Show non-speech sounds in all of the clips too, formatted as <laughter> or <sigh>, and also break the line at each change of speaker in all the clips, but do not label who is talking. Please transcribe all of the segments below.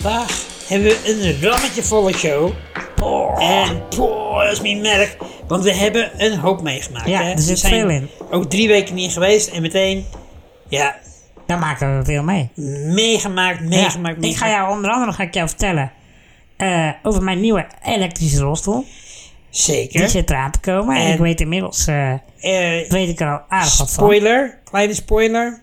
Vandaag hebben we een rammetje volle show.
Oh.
En poeh, dat is mijn merk. Want we hebben een hoop meegemaakt.
Ja,
hè. Dus
er zit
We zijn
veel in.
Ook drie weken niet geweest en meteen, ja,
Daar maken we veel mee.
meegemaakt, meegemaakt,
Ja, ik ga
meegemaakt.
jou onder andere ga ik jou vertellen eh, over mijn nieuwe elektrische rolstoel. Die
Zeker.
zit eraan te komen. En,
En-
ik weet inmiddels, eh,
Eh,
weet ik er al aardig wat van.
spoiler, kleine spoiler.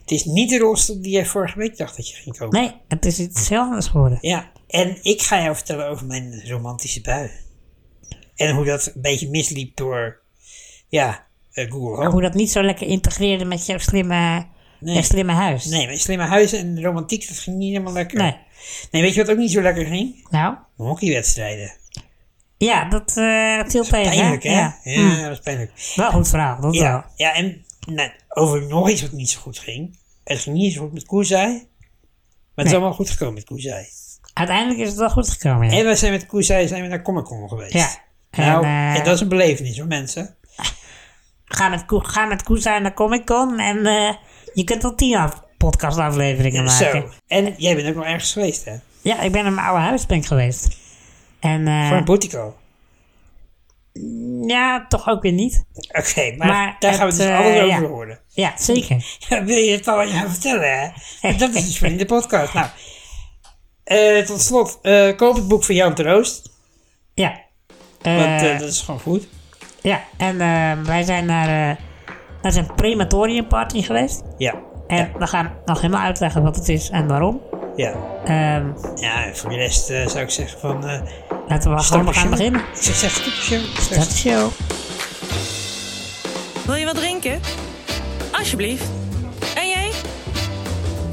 Het is niet de rolstoel die jij vorige week dacht dat je ging kopen.
Nee, het is iets heel anders geworden.
Ja, en ik ga jou vertellen over mijn romantische bui. En hoe dat een beetje misliep door, ja, eh, Google Home.
Hoe dat niet zo lekker integreerde met jouw slimme,
Nee.
jouw slimme huis.
Nee, mijn slimme huis en romantiek, dat ging niet helemaal lekker.
Nee.
Nee, weet je wat ook niet zo lekker ging?
Nou,
Hockeywedstrijden.
ja, dat, eh dat hield tegen.
Pijnlijk, hè? Ja,
Ja. Mm.
dat was pijnlijk.
Wel een goed verhaal, dat wel.
Ja, ja en nou, over nog iets wat niet zo goed ging. Het ging niet zo goed met Koezai. Maar het is
Nee.
allemaal goed gekomen met Koezai.
Uiteindelijk is het wel goed gekomen, ja.
En we zijn met Koezai zijn we naar Comic Con geweest.
Ja.
Nou,
En, eh,
en dat is een belevenis hoor, mensen.
Ga met, Ko- ga met Koesa naar Comic Con en eh, je kunt al tien af, podcastafleveringen maken.
Zo. En jij bent ook nog ergens geweest, hè?
Ja, ik ben in mijn oude huis ben ik geweest. En eh,
Voor een Boutico.
ja, toch ook weer niet.
Oké, maar,
Maar
daar gaan we
het,
dus
eh,
alles over
ja.
horen.
Ja, zeker.
Ja, wil je het al aan jou vertellen, hè?
<laughs>
En Dat is dus voor in de podcast. Nou, eh, tot slot, eh, koop het boek van Jan Troost.
Ja. Eh,
Want eh, dat is gewoon goed.
ja, en eh, wij zijn naar, eh, naar zijn crematorium party geweest.
Ja.
En we gaan nog helemaal uitleggen wat het is en waarom.
Ja.
Ehm,
Ja, en voor de rest eh, zou ik zeggen van... eh
laten we maar
start
gewoon
de
gaan
show.
beginnen.
Ik zou zeggen, stop de show.
Dat is de show.
Wil je wat drinken? Alsjeblieft. En jij?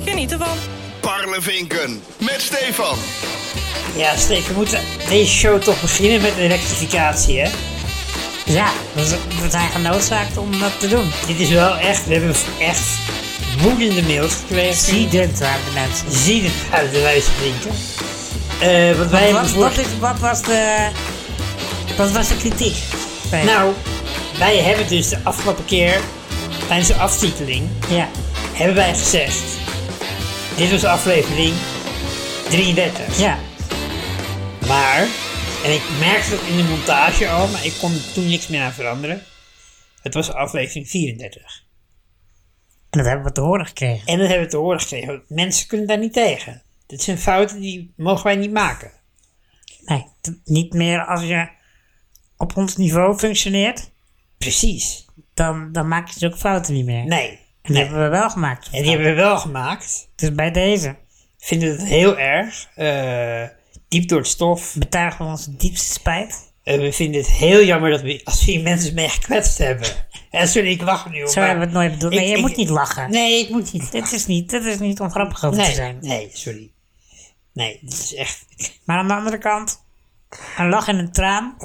Geniet ervan.
Parlevinken met Stefan.
Ja, Steek, we moeten deze show toch beginnen met een rectificatie, hè?
Ja, we, we zijn genoodzaakt om dat te doen.
Dit is wel echt... We hebben echt woedende mails gekregen.
Ziedend waren de mensen.
Zie het uit de lijst drinken. Eh want wij hebben
Wat, wat,
vorige...
is, wat, was de, wat was de kritiek? Nee.
Nou, wij hebben dus de afgelopen keer... Tijdens de aftiteling...
Ja,
hebben wij gezegd. Dit was aflevering 33.
ja,
Maar, en ik merkte dat in de montage al, maar ik kon er toen niks meer aan veranderen. Het was aflevering 34.
en dat hebben we te horen gekregen.
En dat hebben we te horen gekregen. want Mensen kunnen daar niet tegen. Dit zijn fouten die mogen wij niet maken.
Nee, t- niet meer als je op ons niveau functioneert,
Precies.
dan, dan maak je zulke fouten niet meer.
Nee.
En die
nee.
hebben we wel gemaakt.
En die hebben we wel gemaakt.
Dus bij deze
Vinden het heel erg. eh, diep door het stof.
betuigen we onze diepste spijt.
Eh, we vinden het heel jammer dat we als vier mensen mee gekwetst hebben. <laughs> En sorry, ik lach nu.
Zo
maar-
hebben we het nooit bedoeld.
ik-
Nee, je
ik-
moet niet lachen.
Nee, ik moet niet.
Dit is niet, dit is niet om grappig over te
Nee,
zijn.
nee, sorry. Nee, dit is echt.
Maar aan de andere kant, een lach en een traan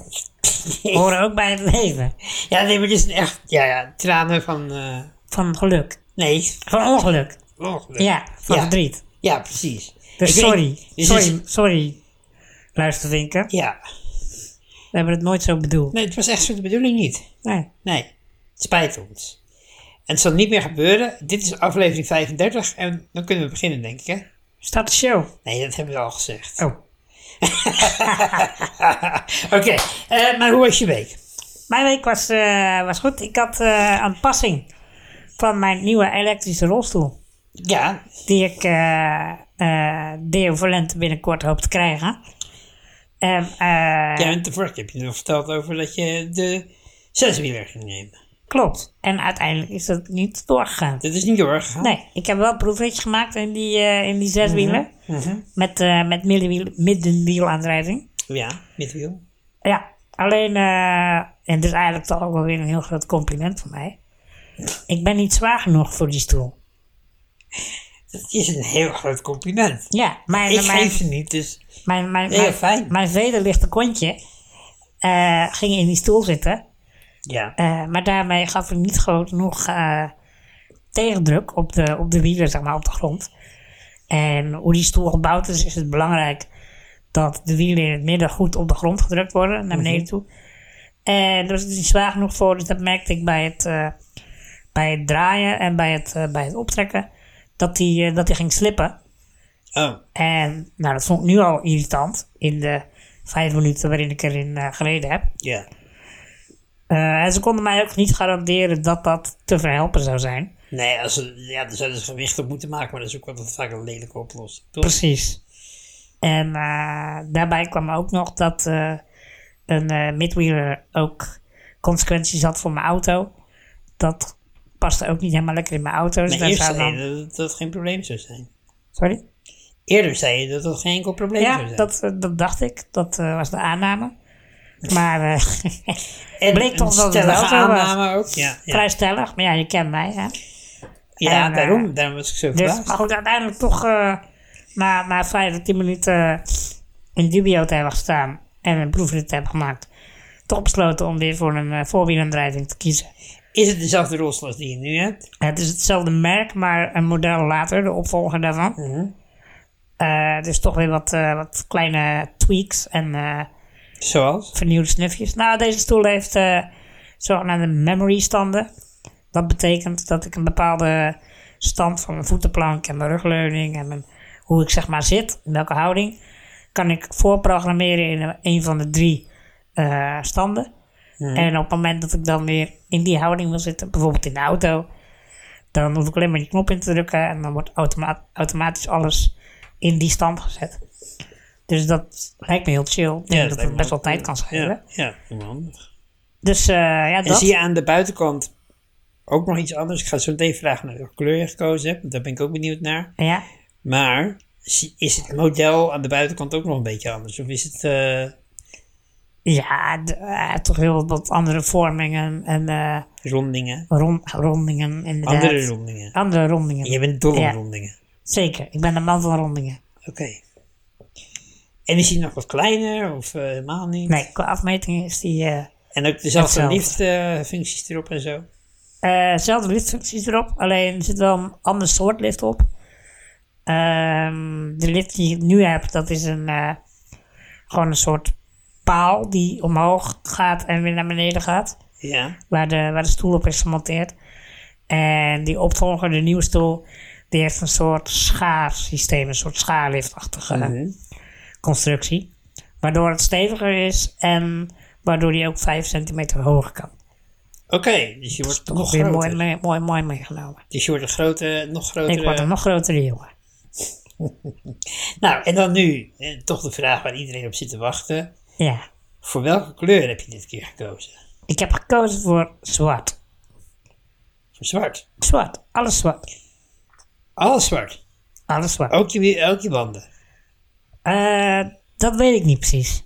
horen ook bij het leven.
Ja, nee, maar dit is een echt. Ja, ja, tranen van. eh,
Van geluk.
nee,
Van ongeluk.
ongeluk.
Ja, van
ja,
verdriet.
Ja, precies.
Dus
Ik- ik-
sorry.
dit is-
sorry, sorry, luisterwinker.
ja,
We hebben het nooit zo bedoeld.
nee, het was echt zo de bedoeling niet.
Nee.
Nee, het spijt ons. En het zal niet meer gebeuren. Dit is aflevering 35 en dan kunnen we beginnen, denk ik, hè?
Start de show.
Nee, dat hebben we al gezegd. <laughs>
Oh.
Oké, eh, maar hoe was je week?
Mijn week was, eh, was goed. Ik had eh, een passing van mijn nieuwe elektrische rolstoel.
Ja,
Die ik eh eh deovalent binnenkort hoop te krijgen. En, eh,
ja en tevoren heb je nog verteld over dat je de zeswieler ging nemen.
Klopt. En uiteindelijk is dat niet doorgegaan.
Dat is niet doorgegaan.
Nee, ik heb wel proefritjes gemaakt in die, eh, in die zeswielen.
Mhm,
Met, eh, met middenwiel, middenwielaandrijving.
Ja, middenwiel.
Ja, alleen, eh, en dit is eigenlijk toch ook wel weer een heel groot compliment van mij. Ik ben niet zwaar genoeg voor die stoel.
Dat is een heel groot compliment.
Ja, mijn,
Ik
mijn,
geef ze niet, dus
mijn, mijn,
Heel
mijn,
fijn.
mijn vederlichte kontje eh, ging in die stoel zitten.
ja.
eh, maar daarmee gaf ik niet groot genoeg eh, tegendruk op de, op de wielen, zeg maar, op de grond. En hoe die stoel gebouwd is, is het belangrijk dat de wielen in het midden goed op de grond gedrukt worden, naar beneden toe. En daar was het niet zwaar genoeg voor, dus dat merkte ik bij het, eh, bij het draaien en bij het, eh, bij het optrekken, dat die, eh, dat die ging slippen.
Oh,
En nou, dat vond ik nu al irritant in de vijf minuten waarin ik erin eh, gereden heb.
ja.
Eh, en ze konden mij ook niet garanderen dat dat te verhelpen zou zijn.
Nee, als ze, ja, dan zouden ze gewicht op moeten maken, maar dat is ook wat vaak een lelijke oplossing. Toch?
Precies. En eh, daarbij kwam ook nog dat eh, een eh, midwheeler ook consequenties had voor mijn auto. Dat paste ook niet helemaal lekker in mijn auto. Dus
Maar
daar
eerst
zou
zei
dan-
je dat dat geen probleem zou zijn.
Sorry?
Eerder zei je dat dat geen enkel probleem zou
Ja,
zijn.
dat, eh, dat dacht ik. Dat eh, was de
<laughs>
aanname. Maar eh,
en
bleek toch dat het
stellige
wel zo was.
aanname ook. Ja, ja.
<laughs> vrij stellig. Maar ja, je kent mij. Hè?
ja
en, eh,
daarom, daarom was ik zo
Dus,
verbaasd.
maar goed, uiteindelijk toch eh, na, na vijf tot tien minuten eh, in dubio te hebben gestaan en een proefrit te hebben gemaakt, toch besloten om weer voor een eh voorwielaandrijding te kiezen.
Is het dezelfde rolstoel als die je nu hebt?
Het is hetzelfde merk, maar een model later, de opvolger daarvan. Eh, dus toch weer wat, eh, wat kleine tweaks en eh,
Zoals?
vernieuwde snufjes. Nou, deze stoel heeft eh zogenaamde memory standen. Dat betekent dat ik een bepaalde stand van mijn voetenplank en mijn rugleuning en mijn, hoe ik zeg maar zit, in welke houding, kan ik voorprogrammeren in een van de drie eh, standen.
Mhm.
En op het moment dat ik dan weer in die houding wil zitten, bijvoorbeeld in de auto, dan hoef ik alleen maar die knop in te drukken en dan wordt automa- automatisch alles in die stand gezet. Dus dat lijkt me heel chill. Ik denk
dat
dat
lijkt
het
me
best wel
wel
tijd kan schelen.
Ja, ja. handig.
Dus eh, ja,
En
dat.
zie je aan de buitenkant ook nog iets anders? Ik ga zo meteen vragen naar welke kleur je gekozen hebt, want daar ben ik ook benieuwd naar.
Ja.
Maar zie- is het model aan de buitenkant ook nog een beetje anders? Of is het... eh,
Ja, d- eh, toch heel wat- wat andere vormingen en eh,
Rondingen.
ron- rondingen inderdaad.
Andere rondingen.
Andere rondingen.
Je bent dol op
Ja.
rondingen.
Zeker, ik ben een man van rondingen.
Oké. En is die nog wat kleiner of eh, helemaal niet?
Nee, qua afmeting is die... eh,
En ook dezelfde
Hetzelfde.
liftfuncties erop en zo.
eh, Zelfde liftfuncties erop, alleen er zit wel een ander soort lift op. Ehm, de lift die ik nu heb, dat is een, eh, gewoon een soort paal die omhoog gaat en weer naar beneden gaat.
Ja.
waar de, waar de stoel op is gemonteerd. En die opvolger, de nieuwe stoel, die heeft een soort schaarsysteem, een soort schaarliftachtige
Mhm.
constructie. Waardoor het steviger is en waardoor die ook 5 centimeter hoger kan.
Oké, dus je wordt nog
Nog weer
groter.
mooi, mee- mooi, mooi meegenomen.
Dus je wordt een grote, nog
Ik word
grotere...
een nog grotere jongen.
Nou, en dan nu eh, toch de vraag waar iedereen op zit te wachten.
Ja.
Voor welke kleur heb je dit keer gekozen?
Ik heb gekozen voor zwart.
Voor zwart.
Zwart, alles zwart.
Alles zwart.
Alles zwart.
Ook je, ook je wanden.
Eh, dat weet ik niet precies.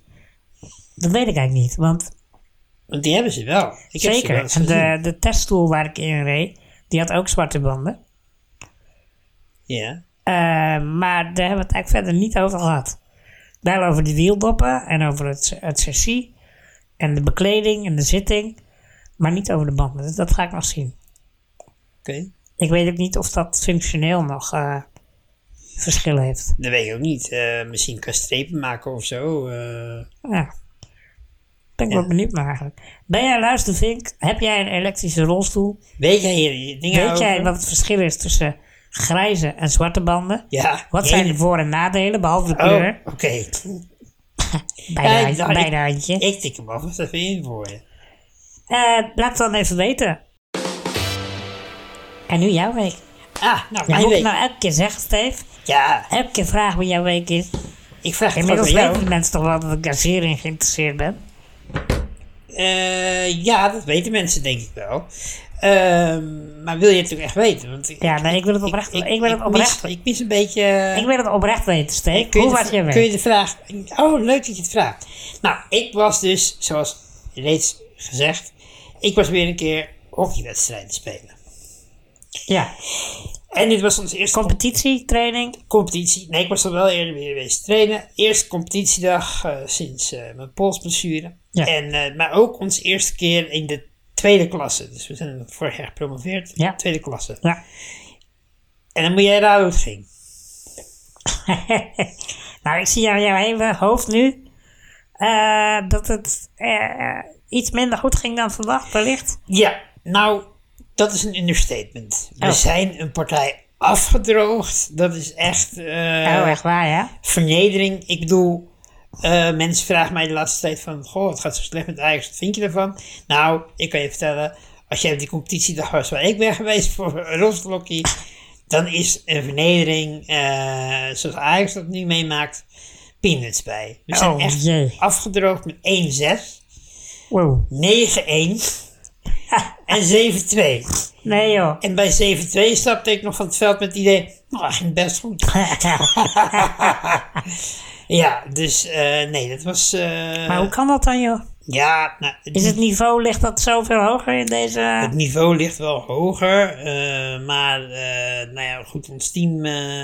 Dat weet ik eigenlijk niet, want
Want die hebben ze wel. Ik heb ze
Zeker.
wel eens
En
gezien.
de, de teststoel waar ik in reed, die had ook zwarte banden.
Ja.
Eh, maar daar hebben we het eigenlijk verder niet over gehad. Wel over de wieldoppen en over het, het chassis en de bekleding en de zitting. Maar niet over de banden. Dus dat ga ik nog zien.
Oké.
Ik weet ook niet of dat functioneel nog eh, verschil heeft.
Dat weet ik ook niet. Eh, misschien kan strepen maken of zo. eh.
Ja. Ben ik wel benieuwd naar eigenlijk. Ben jij luistervink? Heb jij een elektrische rolstoel?
weet jij hier die dingen
weet jij
over?
wat het verschil is tussen grijze en zwarte banden?
Ja.
Wat
jij-
zijn de voor- en nadelen, behalve de
Oh,
kleur?
oké. <laughs>
Bij de
Ja,
hand-
nou, ik-
bij de handje.
Ik tik hem af, wat is dat weer in voor je?
Eh, laat het dan even weten. En nu jouw week.
Ah, nou,
Ja,
mijn
moet ik
week.
nou elke keer zeggen, Steve?
Ja,
Elke keer vragen wie jouw week is.
ik vraag het
Inmiddels
van jou.
weten de mensen toch wel dat ik daar zeer in geïnteresseerd ben.
Eh, ja, dat weten mensen denk ik wel. Ehm, maar wil je het ook echt weten? Want ik,
Ja, nee, ik wil het oprecht, ik, wil het oprecht,
Mis, ik mis een beetje... eh,
ik wil het oprecht weten, Steve.
kun je
Hoe
de-
was je
Kun je
week?
de vraag... Oh, leuk dat je het vraagt. Nou, ik was dus, zoals reeds gezegd... Ik was weer een keer hockeywedstrijden spelen.
Ja,
En dit was ons eerste
competitie, training.
competitie. Nee, ik was al wel eerder weer geweest trainen. Eerste competitiedag eh, sinds eh, mijn polsblessure.
Ja.
En, eh, maar ook onze eerste keer in de tweede klasse. Dus we zijn vorig jaar gepromoveerd.
Ja.
Tweede klasse.
Ja.
En dan moet jij raden hoe het ging.
<laughs> nou, ik zie aan jouw hele hoofd nu eh, dat het eh, iets minder goed ging dan verwacht, wellicht.
Ja, nou, dat is een understatement. We
Oh.
zijn een partij afgedroogd. Dat is echt eh,
Oh, echt waar, ja?
vernedering. Ik bedoel, eh, mensen vragen mij de laatste tijd van... Goh, het gaat zo slecht met Ajax. Wat vind je daarvan? Nou, ik kan je vertellen... Als jij op die competitiedag was waar ik ben <laughs> geweest voor een Roslokkie... dan is een vernedering, eh, zoals Ajax dat nu meemaakt, peanuts bij. We zijn
Oh,
echt
jee.
afgedroogd met 1-6, 9-1
Wow. <laughs>
en 7-2.
Nee, joh.
En bij 7-2 stapte ik nog van het veld met het idee, nou, dat ging best goed. <laughs> ja, dus eh, nee, dat was... eh,
Maar hoe kan dat dan, joh?
Ja, nou, het,
Is het niveau, ligt dat zoveel hoger in deze...
het niveau ligt wel hoger, eh, maar eh, nou ja, goed, ons team... eh,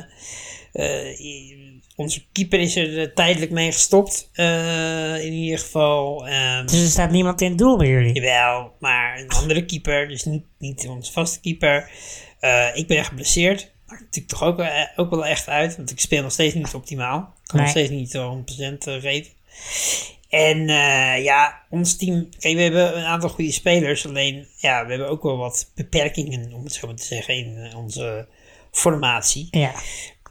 eh, i- onze keeper is er eh, tijdelijk mee gestopt, eh, in ieder geval. ehm
Dus er staat niemand in het doel bij jullie?
Jawel, maar een andere keeper, dus niet, niet onze vaste keeper. Eh, ik ben geblesseerd. Maakt natuurlijk toch ook, wel- eh, ook wel echt uit, want ik speel nog steeds niet optimaal. Ik kan nog
Nee.
steeds niet eh, 100% geven. En eh, ja, ons team, kijk, we hebben een aantal goede spelers, alleen ja, we hebben ook wel wat beperkingen, om het zo maar te zeggen, in eh, onze formatie.
Ja.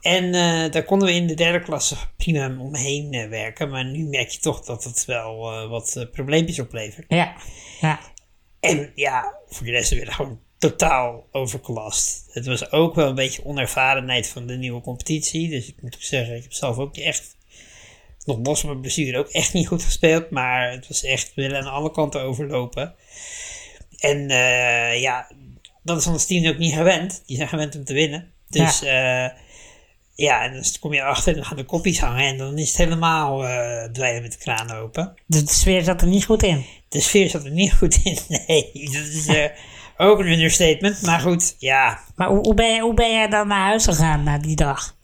En eh, daar konden we in de derde klasse prima omheen eh, werken, maar nu merk je toch dat het wel eh, wat eh, probleempjes oplevert.
Ja. Ja.
En ja, voor de rest werden gewoon totaal overklast. Het was ook wel een beetje onervarenheid van de nieuwe competitie. Dus ik moet ook zeggen, ik heb zelf ook niet echt, nog los van mijn blessure, ook echt niet goed gespeeld. Maar het was echt, we willen aan alle kanten overlopen. En eh, ja, dat is ons team ook niet gewend. Die zijn gewend om te winnen. Dus ja, ja en dan kom je achter en dan gaan de koppies hangen. En dan is het helemaal eh dweilen met de kraan open.
Dus de sfeer zat er niet goed in.
De sfeer zat er niet <laughs> goed in. Nee, dat is eh, ook een understatement. Maar goed, ja.
Maar hoe, hoe, ben, je- hoe ben jij dan naar huis gegaan na die dag?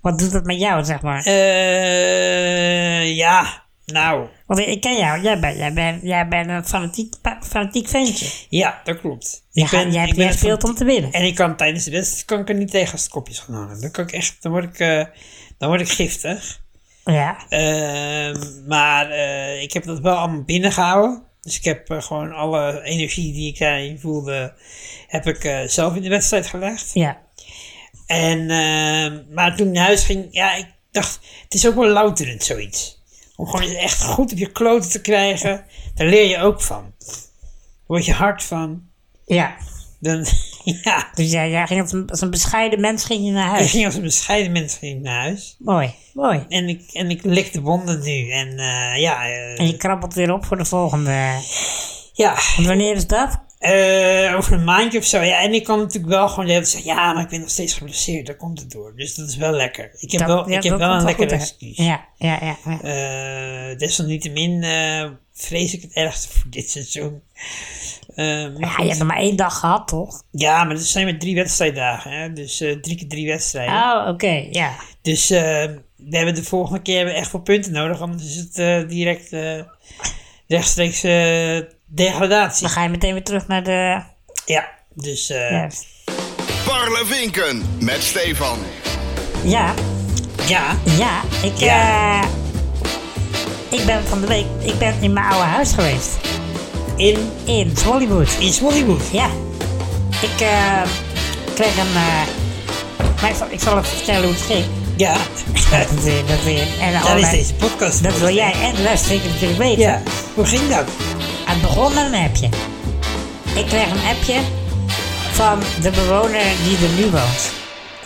Wat doet dat met jou, zeg maar?
Eh, ja, nou.
Want ik, ik ken jou. Jij bent, jij bent, jij bent een fanatiek, pa- fanatiek ventje.
Ja, dat klopt.
Je
Ik ben-
gaat- jij
ik
hebt
ben
jij speelt
van-
om te winnen.
En ik kan tijdens de wedstrijd kan ik er niet tegen als de kopjes gaan hangen. Dan, kan ik echt, dan, word, ik, eh, dan word ik giftig.
Ja.
Ehm, maar eh, ik heb dat wel allemaal binnengehouden. Dus ik heb eh, gewoon alle energie die ik daarin voelde, heb ik eh, zelf in de wedstrijd gelegd.
Ja.
En, ehm, maar toen ik naar huis ging, ja, ik dacht, het is ook wel louterend zoiets. Om gewoon eens echt goed op je kloten te krijgen, daar leer je ook van. Daar word je hard van.
Ja.
Dan, <laughs> ja,
Dus jij, jij ging als een, als een bescheiden mens ging je naar
ik <laughs>
huis.
ging als een bescheiden mens ging ik naar huis.
Mooi. Mooi.
En ik, en ik lik de wonden nu. En eh, ja, eh,
En je krabbelt weer op voor de volgende.
ja
Want wanneer is dat?
eh, over een maandje of zo. Ja, en ik kan natuurlijk wel gewoon de hele tijd zeggen, ja, maar ik ben nog steeds geblesseerd. Daar komt het door. Dus dat is wel lekker. Ik heb
Dat-
wel,
ja,
ik heb
dat
wel
komt
een
goed
lekkere
uit.
excuus.
Ja, ja, ja. ja.
Eh, desalniettemin eh, vrees ik het ergste voor dit seizoen. Eh, maar
ja,
goed.
je hebt er maar één dag gehad, toch?
ja, maar dat zijn maar drie wedstrijddagen. Hè? Dus eh, drie keer drie wedstrijden.
Oh, oké, ja.
Dus eh, we hebben de volgende keer hebben we echt wel punten nodig. Anders is het eh, direct eh, rechtstreeks eh, degradatie.
Dan ga je meteen weer terug naar de...
Ja, dus eh,
Ja,
Parlevinken met Stefan.
ja,
ja.
ja. Ik,
Ja.
eh, ik ben van de week ik ben in mijn oude huis geweest.
In,
In Hollywood.
in Hollywood.
Ja. Ik eh, kreeg een... eh maar ik zal, ik zal even vertellen hoe het ging.
Ja,
Dat, eh, dat, eh, en
daar is
allerlei-
deze podcast
dat
voor.
wil jij en de luisteraar zeker natuurlijk weten.
Ja, hoe ging dat?
Het begon met een appje. Ik kreeg een appje van de bewoner die er nu woont.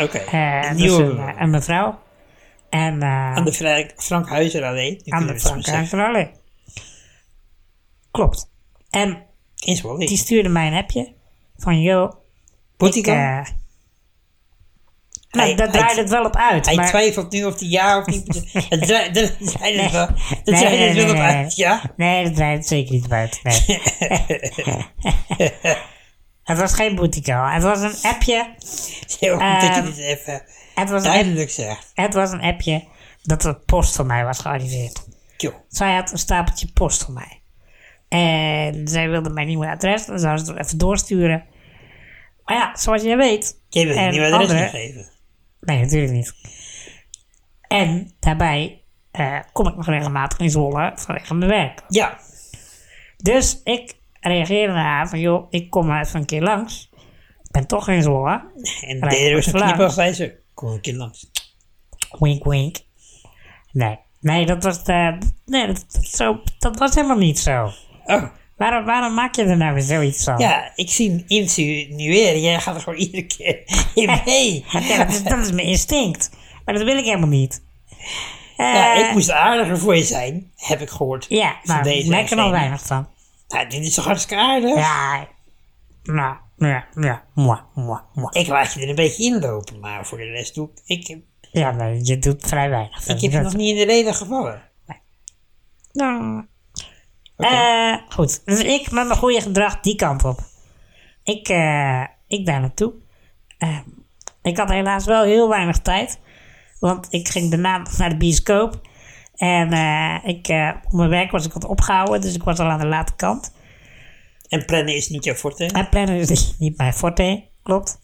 Oké,
Eh,
een
dat is
nieuwe
een, eh, een mevrouw. En eh,
aan de Frank, Frank Huizer alleen.
aan de Frank Huizenallee. Klopt. En
In Zwolle.
die stuurde mij een appje van, joh, ik,
Boetico,
eh,
Hij-
nou, daar
hij-
draaide het wel op uit.
hij
maar,
twijfelt nu of hij ja of niet.
<laughs>
Het dra- dat zijn het wel. Dat
Nee,
zijn
nee,
het
nee,
wel op
nee,
uit, ja.
Nee, dat draait het zeker niet buiten.
<laughs>
Nee. het was geen Boetico. Het was een appje.
Heel goed dat je
Ehm,
dit even
Het was een, app-
duidelijk zegt.
het was een appje dat er post van mij was gearriveerd.
Joh,
Zij had een stapeltje post voor mij. En zij wilde mijn nieuwe adres. Dan zou ze het even doorsturen. Maar ja, zoals jij weet.
jij wil
en
een nieuw adres
anderen-
niet geven.
Nee, natuurlijk niet. En daarbij eh, kom ik nog regelmatig in Zwolle vanwege mijn werk.
Ja,
Dus ik reageerde naar haar van, joh, ik kom maar even een keer langs. Ik ben toch geen Zwolle.
En
Nee,
de Russen
klaar.
knippen zei ze, kom een keer langs.
Wink, wink. Nee, nee, dat was, de, nee dat, dat zo, dat was helemaal niet zo.
Oh,
Waarom, waarom maak je er nou weer zoiets van?
ja, ik zie hem insinueren. Jij gaat er gewoon iedere keer
Eh,
in mee.
Ja, dat, is, dat is mijn instinct. Maar dat wil ik helemaal niet. Eh,
Ja, ik moest aardiger voor je zijn, heb ik gehoord.
ja,
van
maar ik merk er al
uitzending.
weinig van.
Nou, dit is toch hartstikke aardig?
Ja, nou, ja, ja, moi, moi, moi.
Ik laat je er een beetje inlopen, maar voor de rest doe ik... Ik,
Ja, nee, je doet vrij weinig.
ik heb je
Dat-
nog niet in de reden gevallen.
Nou. Eh, goed, dus ik met mijn goede gedrag die kant op. Ik, eh, ik daar naartoe. Eh, ik had helaas wel heel weinig tijd. Want ik ging daarna nog naar de bioscoop. En eh, ik, eh, op mijn werk was ik wat opgehouden, dus ik was al aan de late kant.
En plannen is niet jouw forte.
En plannen is niet- niet mijn forte, klopt.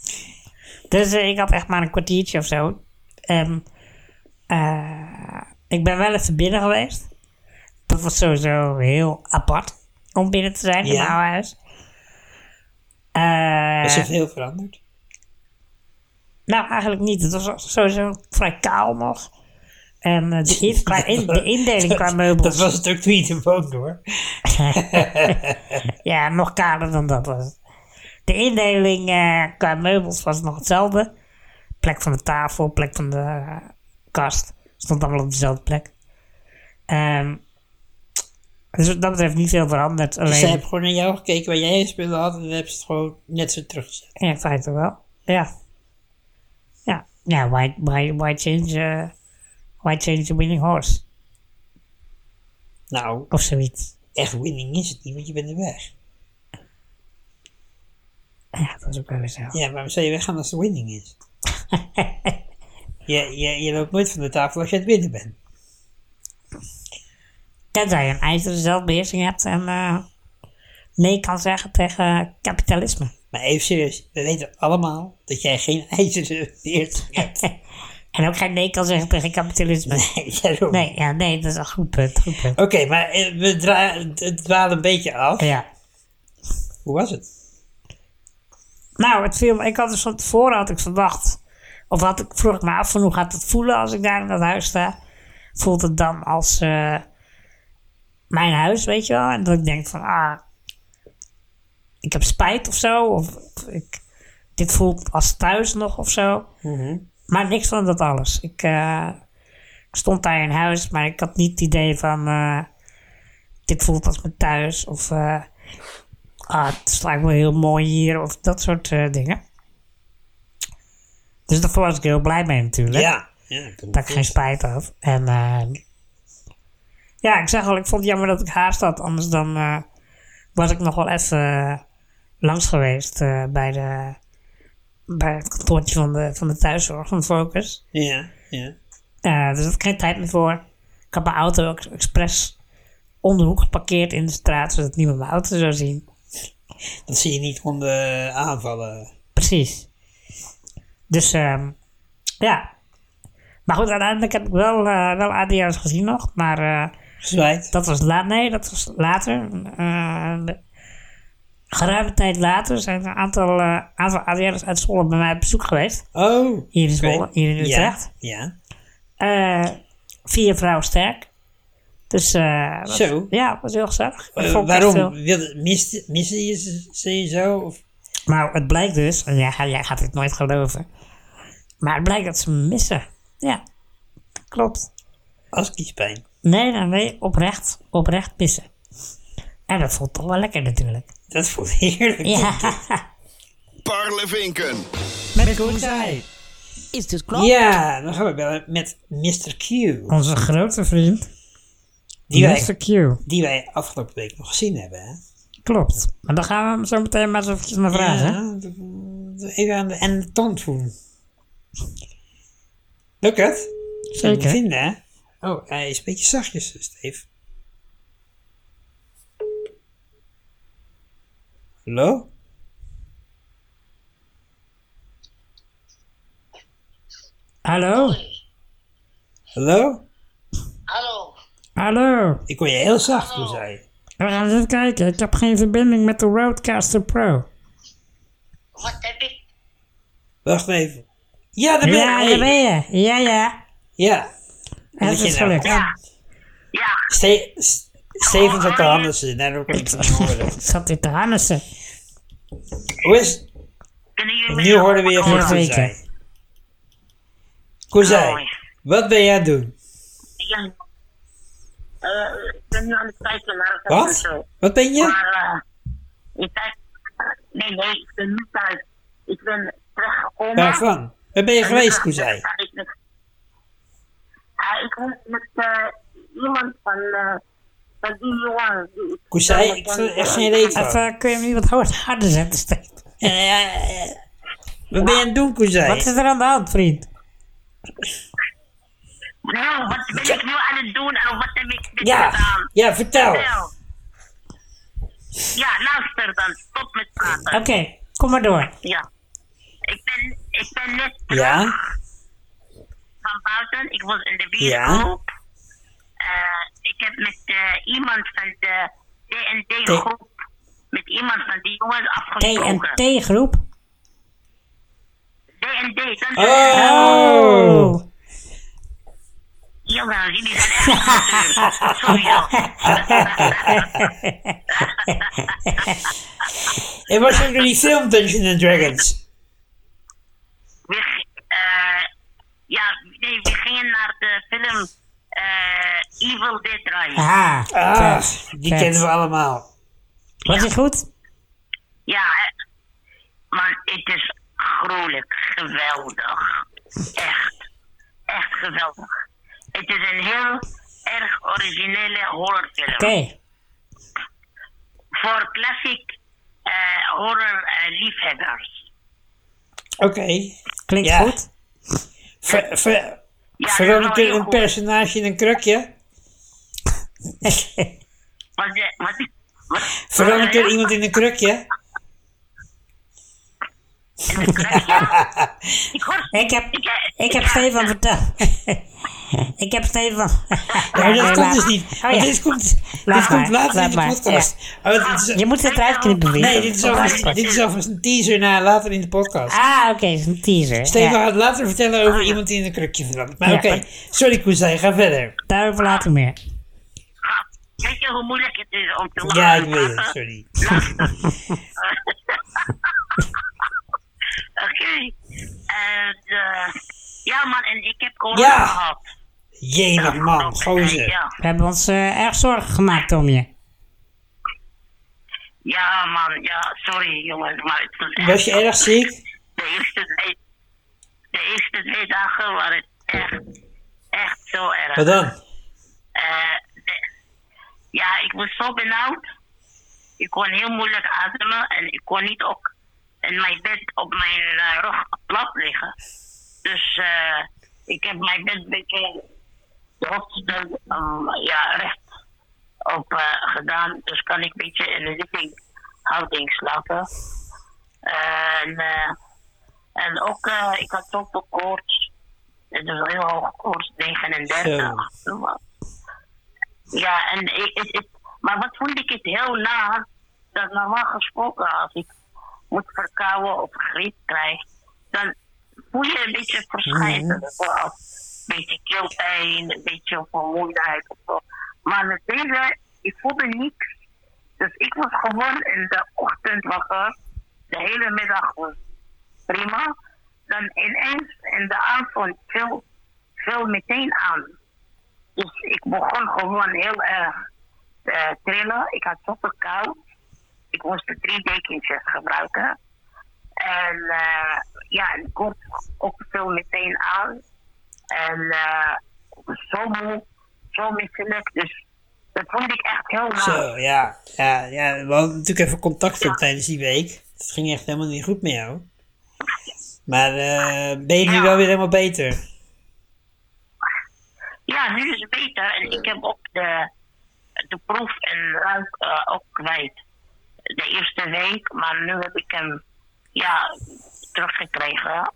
Dus eh, ik had echt maar een kwartiertje of zo. Ehm, eh, ik ben wel even binnen geweest. Dat was sowieso heel apart om binnen te zijn in
Ja.
mijn oude huis.
Is
Eh,
er veel veranderd?
nou, eigenlijk niet. Het was sowieso vrij kaal nog. En eh, de,
<laughs>
in- qua in- de indeling qua meubels.
Dat was het ook toen je er woonde, hoor.
Ja, nog kaler dan dat was het. De indeling eh, qua meubels was nog hetzelfde. Plek van de tafel, plek van de eh, kast. Stond allemaal op dezelfde plek. Ehm, dus wat dat betreft niet veel veranderd. Alleen,
Dus ze hebben gewoon naar jou gekeken waar jij je spullen had en dan hebben ze het gewoon net zo teruggezet.
Ja, in feite wel. Ja. Ja, ja why, why, why, change, eh, why change the winning horse?
Nou,
Of zoiets.
echt winning is het niet, want je bent er weg.
Ja, dat is ook wel weer zo.
Ja, waarom zou je weggaan als het winning
<laughs>
is? je, je, je loopt nooit van de tafel als je aan het winnen bent.
Tenzij je een ijzeren zelfbeheersing hebt en eh, nee kan zeggen tegen kapitalisme.
Maar even serieus, we weten allemaal dat jij geen <laughs> ijzeren veert hebt. <laughs>
En ook geen nee kan zeggen tegen kapitalisme.
Nee, daarom.
Nee, ja, nee, dat is een goed punt. Goed punt.
Oké, maar eh, we dra- het dwalen een beetje af.
Ja.
Hoe was het?
Nou, het viel, me- ik had dus van tevoren had ik verwacht. Of had ik, vroeg ik me af van hoe gaat het voelen als ik daar in dat huis sta? Voelt het dan als eh, mijn huis, weet je wel? En dat ik denk van, ah, ik heb spijt of zo. Of ik, dit voelt als thuis nog of zo. Maar niks van dat alles. Ik, eh, ik stond daar in huis, maar ik had niet het idee van... eh, dit voelt als mijn thuis. Of eh, ah, het is eigenlijk wel heel mooi hier. Of dat soort eh, dingen. Dus daarvoor was ik heel blij mee natuurlijk.
Ja. ja ik kan me
Dat ik geen spijt had. En eh, ja, ik zeg al, ik vond het jammer dat ik haast had. Anders dan eh, was ik nog wel even eh, langs geweest eh, bij, de, bij het kantoortje van de, van de thuiszorg van Focus.
voorstellen. Ja, ja.
Eh, dus daar had ik geen tijd meer voor. Ik had mijn auto ook expres om de hoek geparkeerd in de straat, zodat niemand mijn auto zou zien.
Dat zie je niet konden aanvallen.
Precies. Dus ehm, ja. Maar goed, uiteindelijk heb ik wel, eh wel ADR's gezien nog. Maar eh,
Gezwaaid.
dat was laat. Nee, dat was later. Eh, geruime tijd later zijn er een aantal, eh aantal ADR's uit Zwolle bij mij op bezoek geweest.
Oh.
Hier in
oké.
Zwolle, hier in Utrecht.
Ja, ja.
Eh, vier vrouwen sterk. Dus eh, dat-
Zo.
ja, was heel gezellig. Dat
Eh,
vond ik echt
waarom?
heel-
Wilde, miste, miste je ze- ze je zo? Of?
Nou, het blijkt dus, en jij, gaat- jij gaat dit nooit geloven, maar het blijkt dat ze me missen. Ja, klopt.
Als kiespijn.
Nee, nee, nee, oprecht, oprecht missen. En dat voelt toch wel lekker natuurlijk.
Dat voelt heerlijk.
Ja,
Parlevinken.
Met Koenzij.
Is dit klopt?
Ja, dan gaan we bellen met Mr. Q.
onze grote vriend,
Die wij,
Mr. Q.
die wij afgelopen week nog gezien hebben. Hè?
Klopt. Maar dan gaan we hem zo meteen maar eens eventjes naar vragen. hè?
Ja, d- even aan de, en de tand voelen. Lukt het? Zullen we
Zeker.
vinden, hè? Oh, hij is een beetje zachtjes, Steve. Hallo?
Hallo?
Hallo?
Hallo.
Hallo?
Ik hoor je heel zacht, hoe zei je?
We gaan eens even kijken. Ik heb geen verbinding met de Roadcaster Pro.
Wat heb ik?
Wacht even. Ja, daar ben
ja,
ik.
daar ben je. Ja, ja.
Ja.
Het is
nou.
gelukt.
Ja,
Ste S- Steven van Johannessen, daar ook niet van horen.
Ik zat dit te harnessen.
Hoe is het?
kunnen jullie...
Nu hoorden we je
allemaal
van
Ja, zeker.
Koezij. Koezij, wat ben jij aan het doen?
Ja. Eh, ik ben nu aan het kijken naar het
Wat? Wat ben je?
Maar eh, ik kijk... Nee, nee, ik ben niet thuis. Ik ben teruggekomen.
Waarvan? Waar ben je geweest, Koezij?
Ja, ik was met eh, iemand van... eh, van die jongen. die-
Koezij, ik vind er echt geen reet van.
Even, eh, kun je hem niet wat hard- harder zetten, Steve?
Wat ben je aan het doen,
Wat
Koezij?
is er aan de hand, vriend?
Nou, wat ben ik nu aan het doen en wat heb ik dit
Ja, Oh.
gedaan?
ja, vertel.
Vertel. Ja, luister dan. Stop met praten.
Oké, kom maar door.
Ja. Ik ben, ik ben net terug
Ja?
van buiten. Ik was in de bioscoop. Eh, ik heb met eh, iemand van de TNT-groep, met iemand van die jongens afgesproken.
TNT-groep.
TNT, dan
Oh!
Jawel, jullie zijn echt natuurlijk. Sorry joh.
En was ook nog die film Dungeons and Dragons?
we, g- eh, ja, nee, we gingen naar de film eh, Evil Dead Rise.
Ah,
Ah,
vet,
die
vet.
kennen we allemaal.
Was het goed?
Ja, hè. maar het is gruwelijk geweldig. Echt. Echt geweldig. Het is een heel erg originele horrorfilm.
Oké.
Voor classic eh, horror eh, liefhebbers.
Oké.
Klinkt
Ja.
goed.
<laughs> Ver- ver-
Ja,
Verandert
dat is
er
wel heel
een
goed.
personage in een krukje?
Wat, ze- wat, eh, wat,
<laughs> Verandert er iemand in een krukje?
Ik hoor...
Ik heb, ik heb Stefan verteld. <laughs> ik heb
<laughs>
Stefan.
Nou, dat
nee,
komt
laat-
dus niet.
Oh,
want
ja.
dit komt, dit
Laat
komt
maar,
later in
laat
de
maar,
podcast. Oh, dit is,
Je moet het eruit knippen weer.
nee, dit is, alvast,
Ah,
dit is alvast een teaser naar later in de podcast.
oké, het is een teaser.
Steven
Ah, Ja,
gaat later vertellen
Ah,
over iemand die in een krukje verandert. Maar
Ja.
oké, sorry Koezij, ga verder.
daarover later meer.
Weet je hoe moeilijk het is om te lachen?
Ja, ik weet het, sorry.
<laughs> Oké. En, eh, ja, man, en ik heb corona
Ja.
gehad.
Jenig man, gozer.
Ja.
We hebben ons eh, erg zorgen gemaakt om je.
ja, man, ja, sorry jongens, maar het was echt
Was je erg ziek?
de eerste twee, de eerste twee dagen waren het echt, echt zo erg.
Wat dan?
Eh, de- ja, ik was zo benauwd. Ik kon heel moeilijk ademen en ik kon niet ook in mijn bed op mijn eh, rug plat liggen. Dus eh, ik heb mijn bed een beetje de hoofdsteun ehm, ja, recht op eh, gedaan. Dus kan ik een beetje in de zitting houding slapen. En, eh, en ook, eh, ik had ook de koorts. Het is heel hoog koorts, 39. Ja, en ik, ik- ik- maar wat vond ik het heel naar dat normaal gesproken als ik moet verkouden of griep krijg, dan voel je een beetje verschijnen. Zoals Een beetje keelpijn, een beetje vermoeidheid of zo. Maar met deze, ik voelde niks. Dus ik was gewoon in de ochtend wakker, de hele middag was prima. Dan ineens in de avond veel, veel meteen aan. Dus ik begon gewoon heel erg eh, trillen. Ik had zoveel koud. Ik moest de drie dekentjes gebruiken. En eh, ja, ik kom ook veel meteen aan. En eh, ik was zo moe, zo misselijk. Dus dat vond ik echt heel raar.
Zo, ja. Ja, ja. We hadden natuurlijk even contact op tijdens die week. Het ging echt helemaal niet goed met jou. Maar eh, ben je nu
Ja.
wel weer helemaal beter?
Ja, nu is het beter. En ik heb ook de, de proef en ruik eh, ook kwijt. De eerste week, maar nu heb ik hem ja, teruggekregen.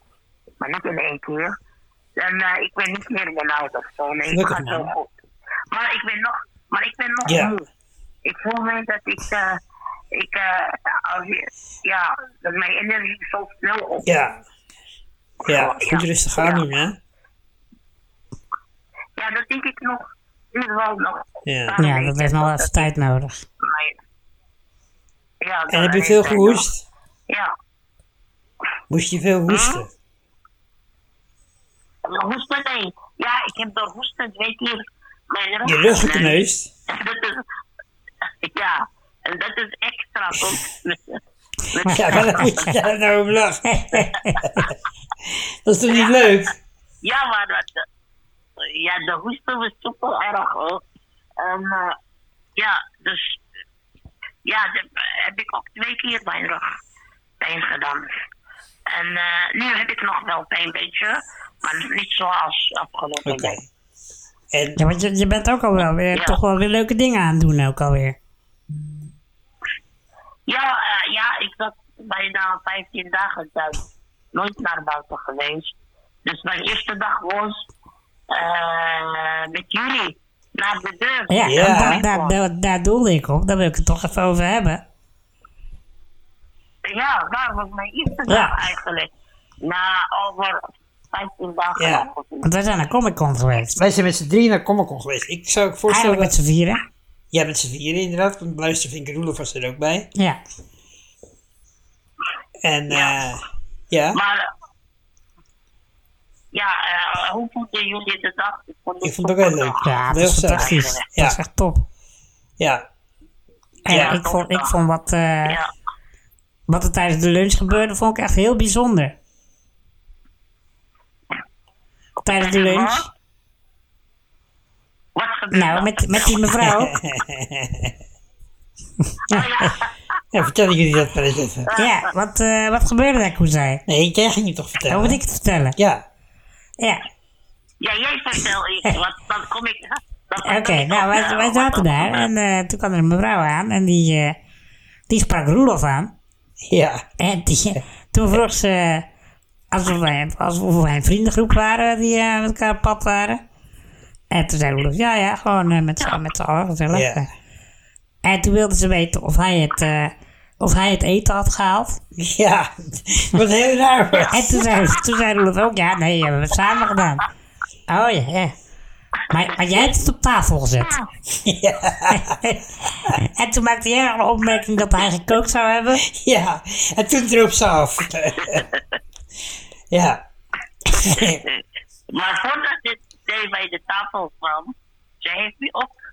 Maar niet in één keer. En eh, ik ben niet meer benauwd of zo. Nee, het
Gelukkig,
gaat zo
man.
goed. Maar ik ben nog, maar ik ben nog
Ja.
moe. Ik voel me dat ik, eh, ik eh, als, je- ja, dat mijn energie zo snel op.
Ja. Ja,
Gewoon,
goed
ja.
rustig aan doen, hè?
Ja, dat denk ik nog. Duurt wel nog.
Ja.
een paar
Ja, dat
weken
heeft nog Ah, wel
dat
even tijd nodig.
mij- Ja,
En
dat
heb je
heeft
veel
tijd nog.
gehoest?
Ja,
Moest je veel hoesten?
hoesten nee. Ja, ik heb door hoesten twee keer mijn rug
Je rug
<laughs> gekneusd.
gekneusd?
Dat is, ja, en dat is extra.
<laughs>
toch? Met- met-
Ja, maar dan
<laughs>
moet je daar nou om lachen. <laughs> Dat is toch niet leuk?
Ja, maar dat, eh, ja, de hoesten was super erg hoor. En eh, ja, dus ja, dat heb ik ook twee keer mijn rug pijn gedaan. En eh, nu heb ik nog wel pijn, weet je, maar niet zoals afgelopen
Oké.
week.
En
Ja, want je, je bent ook al wel weer,
Ja.
toch wel weer leuke dingen aan het doen ook alweer.
Ja, eh, ja, ik zat bijna 15 dagen thuis. Nooit naar buiten geweest. Dus mijn eerste dag was eh, met jullie naar de deur.
Ja,
Ja.
en daar, daar, daar, daar doelde ik op. Daar wil ik het toch even over hebben.
Ja, daar was mijn eerste
Ja.
dag eigenlijk. Na over 15 dagen.
Ja.
of zo.
Want wij zijn naar Comic Con geweest.
wij zijn met z'n drieën naar Comic Con geweest. Ik zou ook voorstellen
Eigenlijk met
dat...
z'n vieren.
Ja, met z'n vieren inderdaad. Want Luistervinker Roelof was er ook bij.
Ja.
En
Ja.
eh, ja,
Maar eh, ja, eh, hoe voelden jullie de dag? Ik vond
Ik vond het ook heel leuk.
Ja, het
Heel
was
gezellig.
fantastisch. Het
Ja.
was echt top.
ja,
En
Ja.
ik, vond, ik vond wat, eh,
Ja,
wat er tijdens de lunch gebeurde, vond ik echt heel bijzonder. Tijdens de lunch.
wat gebeurde
Nou, met, met die
<laughs>
mevrouw.
Nou
ja vertel jullie dat maar eens even.
Ja, wat, eh, wat gebeurde daar, Koezij?
Nee, jij ging het toch
Hoe
vertellen?
moet ik het vertellen?
Ja,
Ja.
Ja, jij vertel ik, want dan kom ik...
<laughs>
dan
Oké,
vertel ik
nou,
ook,
wij,
eh,
wij
wat
zaten
er
daar
gebeurde.
en eh, toen kwam er een mevrouw aan en die, eh, die sprak Roelof aan.
ja,
En die, toen vroeg ze, alsof wij, alsof wij een vriendengroep waren die eh, met elkaar op pad waren. En toen zei Roelof, ja, ja, gewoon eh, met z'n met z'n allen gezellig.
ja.
En toen wilde ze weten of hij het, eh, of hij het eten had gehaald.
Ja, <laughs> wat heel raar. was.
En toen zei, toen zei Roelof ook, ja, nee, we hebben het samen gedaan. Oh ja, ja. Maar, maar jij hebt het op tafel gezet. <laughs> en toen maakte jij een opmerking dat hij gekookt zou hebben.
Ja, en toen droop ze af. ja,
Maar voordat dit zij bij de tafel kwam, ze heeft me ook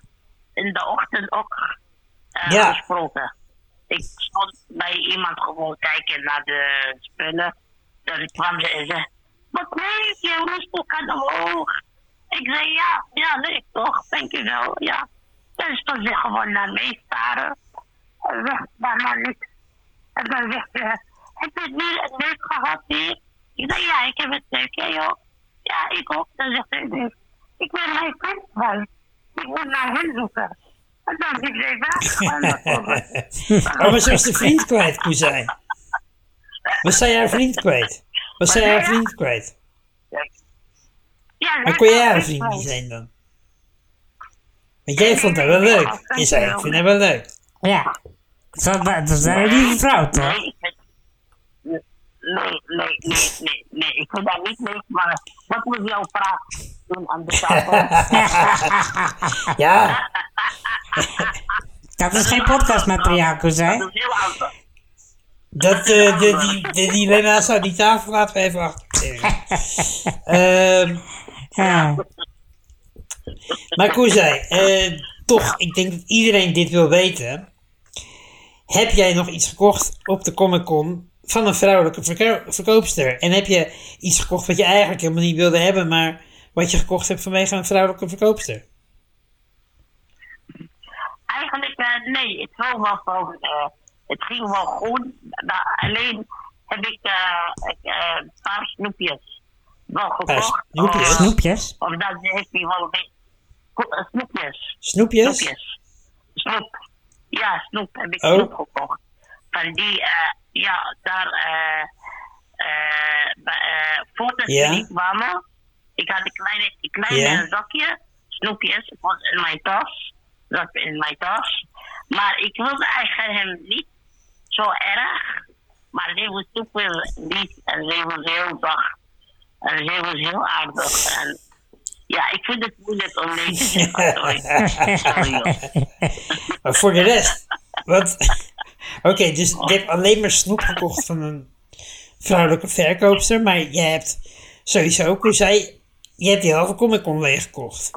in de ochtend ook eh,
Ja.
gesproken. Ik stond bij iemand gewoon kijken naar de spullen. Dan kwam ze en zei, wat weet je, rustig kan omhoog. Ik zei, ja, ja, nee, toch, dankjewel, ja. Dan stond ze gewoon naar mij staren. En weg, daarna niks. En dan zegt ze, heb je het weer een leuk gehad hier? Ik zei, ja, ik heb het leuk. Ja, joh. Ja, ik ook. Dan zegt ze, nee, ik ben mijn vriend kwijt. Ik moet naar hen zoeken. En dan zeg ik, waar? En dan kom ik.
oh, maar ze was de vriend kwijt, Koezijn. Was zij haar vriend kwijt? Was zij haar vriend kwijt?
Ja,
Maar nou, kon jij haar vriend niet zijn dan? Want jij vond haar wel leuk. Je zei, ik vind haar wel leuk.
Ja. Dat was een lieve vrouw, toch?
<laughs> Nee, ik vind- nee, nee, nee, nee, nee. Ik vind dat niet leuk, maar wat moet jouw vraag doen aan de tafel?
Ja,
Dat is geen podcastmateriaal, Kozijn.
Dat is heel anders.
dat, eh, de, die, de dilemma's aan die tafel laten we even achter ons <laughs> liggen. Ehm,
Ja.
Maar Koezij, eh, toch, ik denk dat iedereen dit wil weten. Heb jij nog iets gekocht op de Comic Con van een vrouwelijke verko- verkoopster? En heb je iets gekocht wat je eigenlijk helemaal niet wilde hebben, maar wat je gekocht hebt vanwege een vrouwelijke verkoopster?
Eigenlijk, eh, nee, het, was wel van, eh, het ging wel goed. Maar alleen heb ik eh, ik, eh, een paar snoepjes wel
Paar
gekocht.
snoepjes?
eh,
Snoepjes.
Omdat ze heeft die wel een beetje... Ko- eh, Snoepjes.
Snoepjes?
Snoepjes. Snoep. Ja, snoep. Heb ik
Oh.
snoep gekocht. Van die, eh, ja, daar... eh, eh, bij, eh, voordat ze
Ja.
niet kwamen, ik had een kleine, een kleine
Ja.
zakje, snoepjes, het was in mijn tas. Dat in mijn tas. Maar ik wilde eigenlijk hem niet zo erg. Maar die was super lief en die was heel zacht. En zij was heel aardig. En ja, ik vind het moeilijk om nee
<laughs>
te zeggen. Sorry. Sorry, joh.
Maar voor de rest, wat... Oké, dus je hebt alleen maar snoep gekocht van een vrouwelijke verkoopster, maar je hebt sowieso ook, hoe zei je, hebt die halve Comic Con leeggekocht.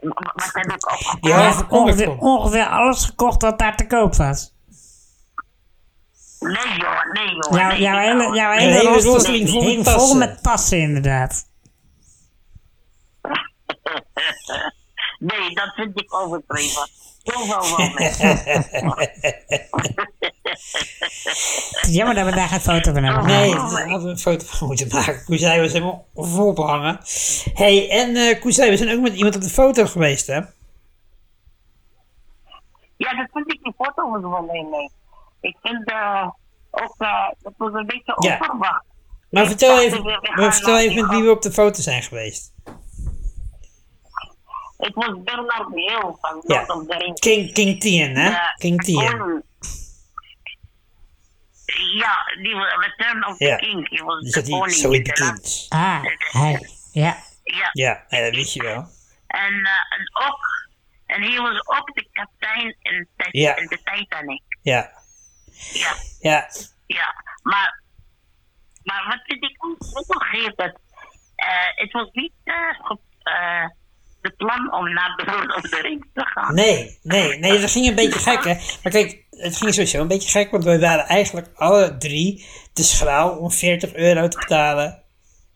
Wat wat heb ik opgekomen?
Ah,
Die halve Comic
ongeveer,
Con.
ongeveer alles gekocht wat daar te koop was.
Nee, joh, nee, joh.
Jouw,
Oh, nee,
Nou, jouw
joh.
hele, jouw
hele
hele roster
rosteling vol met
hing vol
tassen.
met tassen inderdaad.
Nee, dat vind ik overdreven.
<laughs>
Zoveel wel mee.
Het is jammer dat we daar geen foto van hebben.
Nee,
Oh,
daar hadden we een foto van moeten maken. Koezij was helemaal volbehangen. hey, en eh Koezij, we zijn ook met iemand op de foto geweest, hè?
Ja, dat vind ik die foto was wel mee. mee. Ik vind eh, ook, eh, dat was een beetje
Ja.
onverwacht.
Maar
Ik
vertel
dacht,
even,
we gaan
maar vertel
naar
even
die
met wie we op de foto zijn geweest.
Het was Bernard Heel van
Ja.
Lord of the Rings.
King, King Tien, hè?
Eh,
King Tien.
kon- Ja, die was Return of
Ja.
the King. Die was
Dus
de
dat die
koning.
zo in
inderdaad.
begint.
Ah, hij. Ja.
Ja,
Ja, nee, dat weet je wel.
en, eh, en ook... En hij was ook de kapitein in, Ti-
Ja.
in de Titanic.
Ja,
Ja.
ja.
Ja, maar, maar wat vind ik ook zo geef dat eh, het was niet eh, ge- eh, de plan om naar de <laughs> Lord of the Rings te gaan.
Nee, nee, nee, dat ging een beetje gek, hè? Maar kijk, het ging sowieso een beetje gek, want wij waren eigenlijk alle drie te schraal om 40 euro te betalen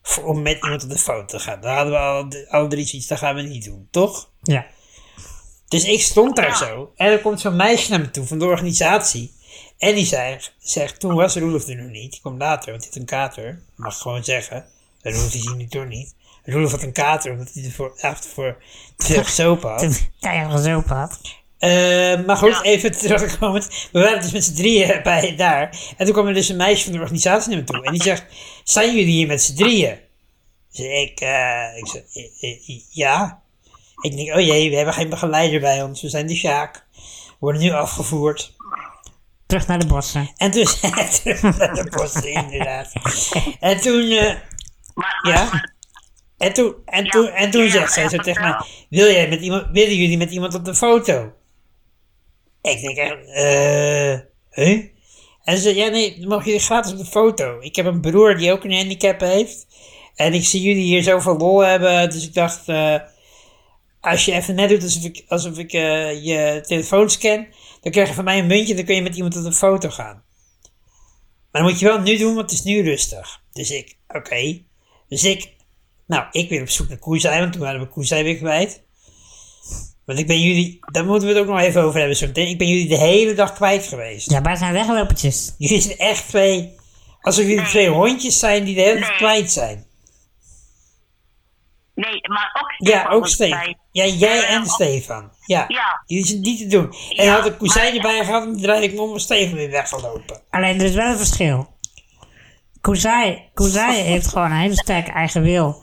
voor, om met iemand op de foto te gaan. Daar hadden we alle, d- alle drie zoiets, dat gaan we niet doen, toch?
Ja.
Dus ik stond daar zo en er komt zo'n meisje naar me toe van de organisatie. En die zei, zegt, toen was Roelof er nog niet, die kwam later, want hij had een kater. Mag ik gewoon zeggen, Roelof is hier nu toch niet. Roelof had een kater omdat hij de voor- de avond voor te veel gesopen had.
Toen <laughs> hij gezopen had.
Eh, maar goed, even terugkomend. We waren dus met z'n drieën bij daar. En toen kwam er dus een meisje van de organisatie naar me toe. En die zegt, zijn jullie hier met z'n drieën? Dus ik, eh, ik zeg, "I- i- i- ja. Ik denk, oh jee, we hebben geen begeleider bij ons. We zijn de Sjaak. We worden nu afgevoerd.
Terug naar de bossen.
En toen <laughs> zei de post, inderdaad. En toen, eh,
Maar,
Ja.
maar-
en toen, en toen, en toen
ja,
zegt zij
ja,
zo tegen mij,
vertel.
wil jij met iemand, willen jullie met iemand op de foto? Ik denk echt, eh, huh? En ze zei, ja nee, dan mogen jullie gratis op de foto. Ik heb een broer die ook een handicap heeft. En ik zie jullie hier zoveel lol hebben, dus ik dacht, eh, als je even net doet alsof ik, alsof ik eh, je telefoon scan, dan krijg je van mij een muntje en dan kun je met iemand op de foto gaan. Maar dat moet je wel nu doen, want het is nu rustig. Dus ik, oké. Dus ik, nou, ik weer op zoek naar Koezij, want toen waren we Koezij weer kwijt. Want ik ben jullie, daar moeten we het ook nog even over hebben zo meteen. Ik ben jullie de hele dag kwijt geweest.
Ja, wij zijn weglopertjes.
Jullie zijn echt twee, alsof jullie twee hondjes zijn die de hele tijd
Nee.
kwijt zijn.
nee, maar ook
Ja, ook
was
Stefan.
bij-
Ja, jij
Ja,
en
ook-
Stefan. Ja.
Ja.
Jullie zijn niet te doen. En
Ja,
had ik Koezij
maar-
erbij gehad, dan draai ik me om en Stefan weer weggelopen.
Alleen er is wel een verschil. Koezai, Koezai heeft gewoon een hele sterke eigen wil.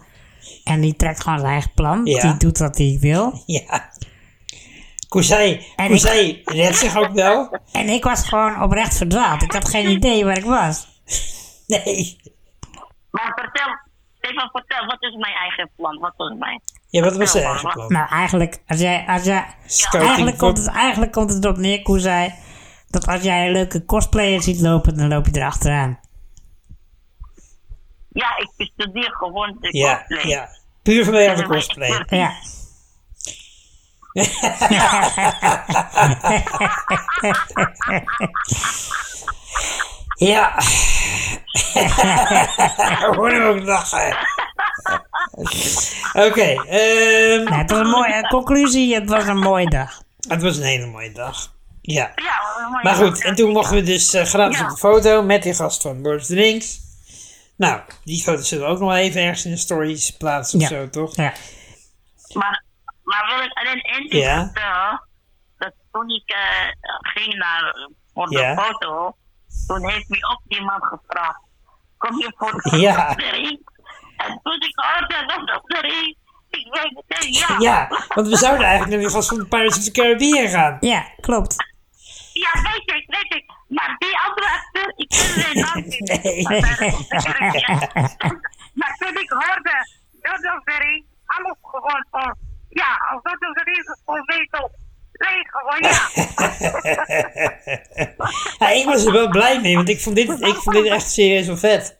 En die trekt gewoon zijn eigen plan.
Ja.
Die doet wat hij wil.
Ja. Koezij,
En ik-
Koezij redt zich ook wel.
<laughs>
En ik was gewoon oprecht verdwaald. Ik had geen idee waar ik was.
Nee.
Maar vertel, Stefan, vertel, wat is mijn eigen plan? Wat was mijn...
Ja, wat was
Ja,
er
maar-
eigenlijk plan?
Nou, eigenlijk, als jij, als jij,
Scouting
eigenlijk,
voor-
komt het, eigenlijk komt het erop neer, Koezai, dat als jij een leuke cosplayer ziet lopen, dan loop je erachteraan.
Ja, ik bestudeer gewoon de
Ja,
cosplay.
ja. Puur vanwege de
Nou, Ja, maar ik <laughs>
cosplay.
wil-
Ja.
<laughs>
Ja. Hoor hem ook
<laughs>
lachen. Oké, ehm,
Nou, het was een mooie conclusie. Het was een mooie dag.
het was een hele mooie dag. Ja.
Ja, maar,
Maar goed, en toen mochten we dus eh, gratis
Ja.
op de foto met die gast van Boris Drinks. Nou, die foto's zullen we ook nog even ergens in de stories plaatsen of
Ja.
zo, toch?
Ja.
Maar, maar wil ik alleen één ding
Ja.
vertellen, dat toen ik eh, ging naar voor
Ja.
de foto, toen heeft mij ook iemand gevraagd, kom je voor de
Ja.
ring? En toen ik hoorde dat op de ring, ik weet meteen ja.
Ja, want we zouden eigenlijk naar die gast van Pirates of the Caribbean gaan.
ja, klopt.
<laughs>
Ja, weet ik, weet ik. Maar die andere acteur, ik ken kan niet.
Nee.
Want daar is de kerkje. <laughs> Maar toen ik hoorde Dodoveri, alles gewoon van, ja, als Dodoveri is gewoon meestal leeg, gewoon
<laughs>
ja.
Ja, ik was er wel blij mee, want ik vond dit, ik vond dit echt serieus wel vet.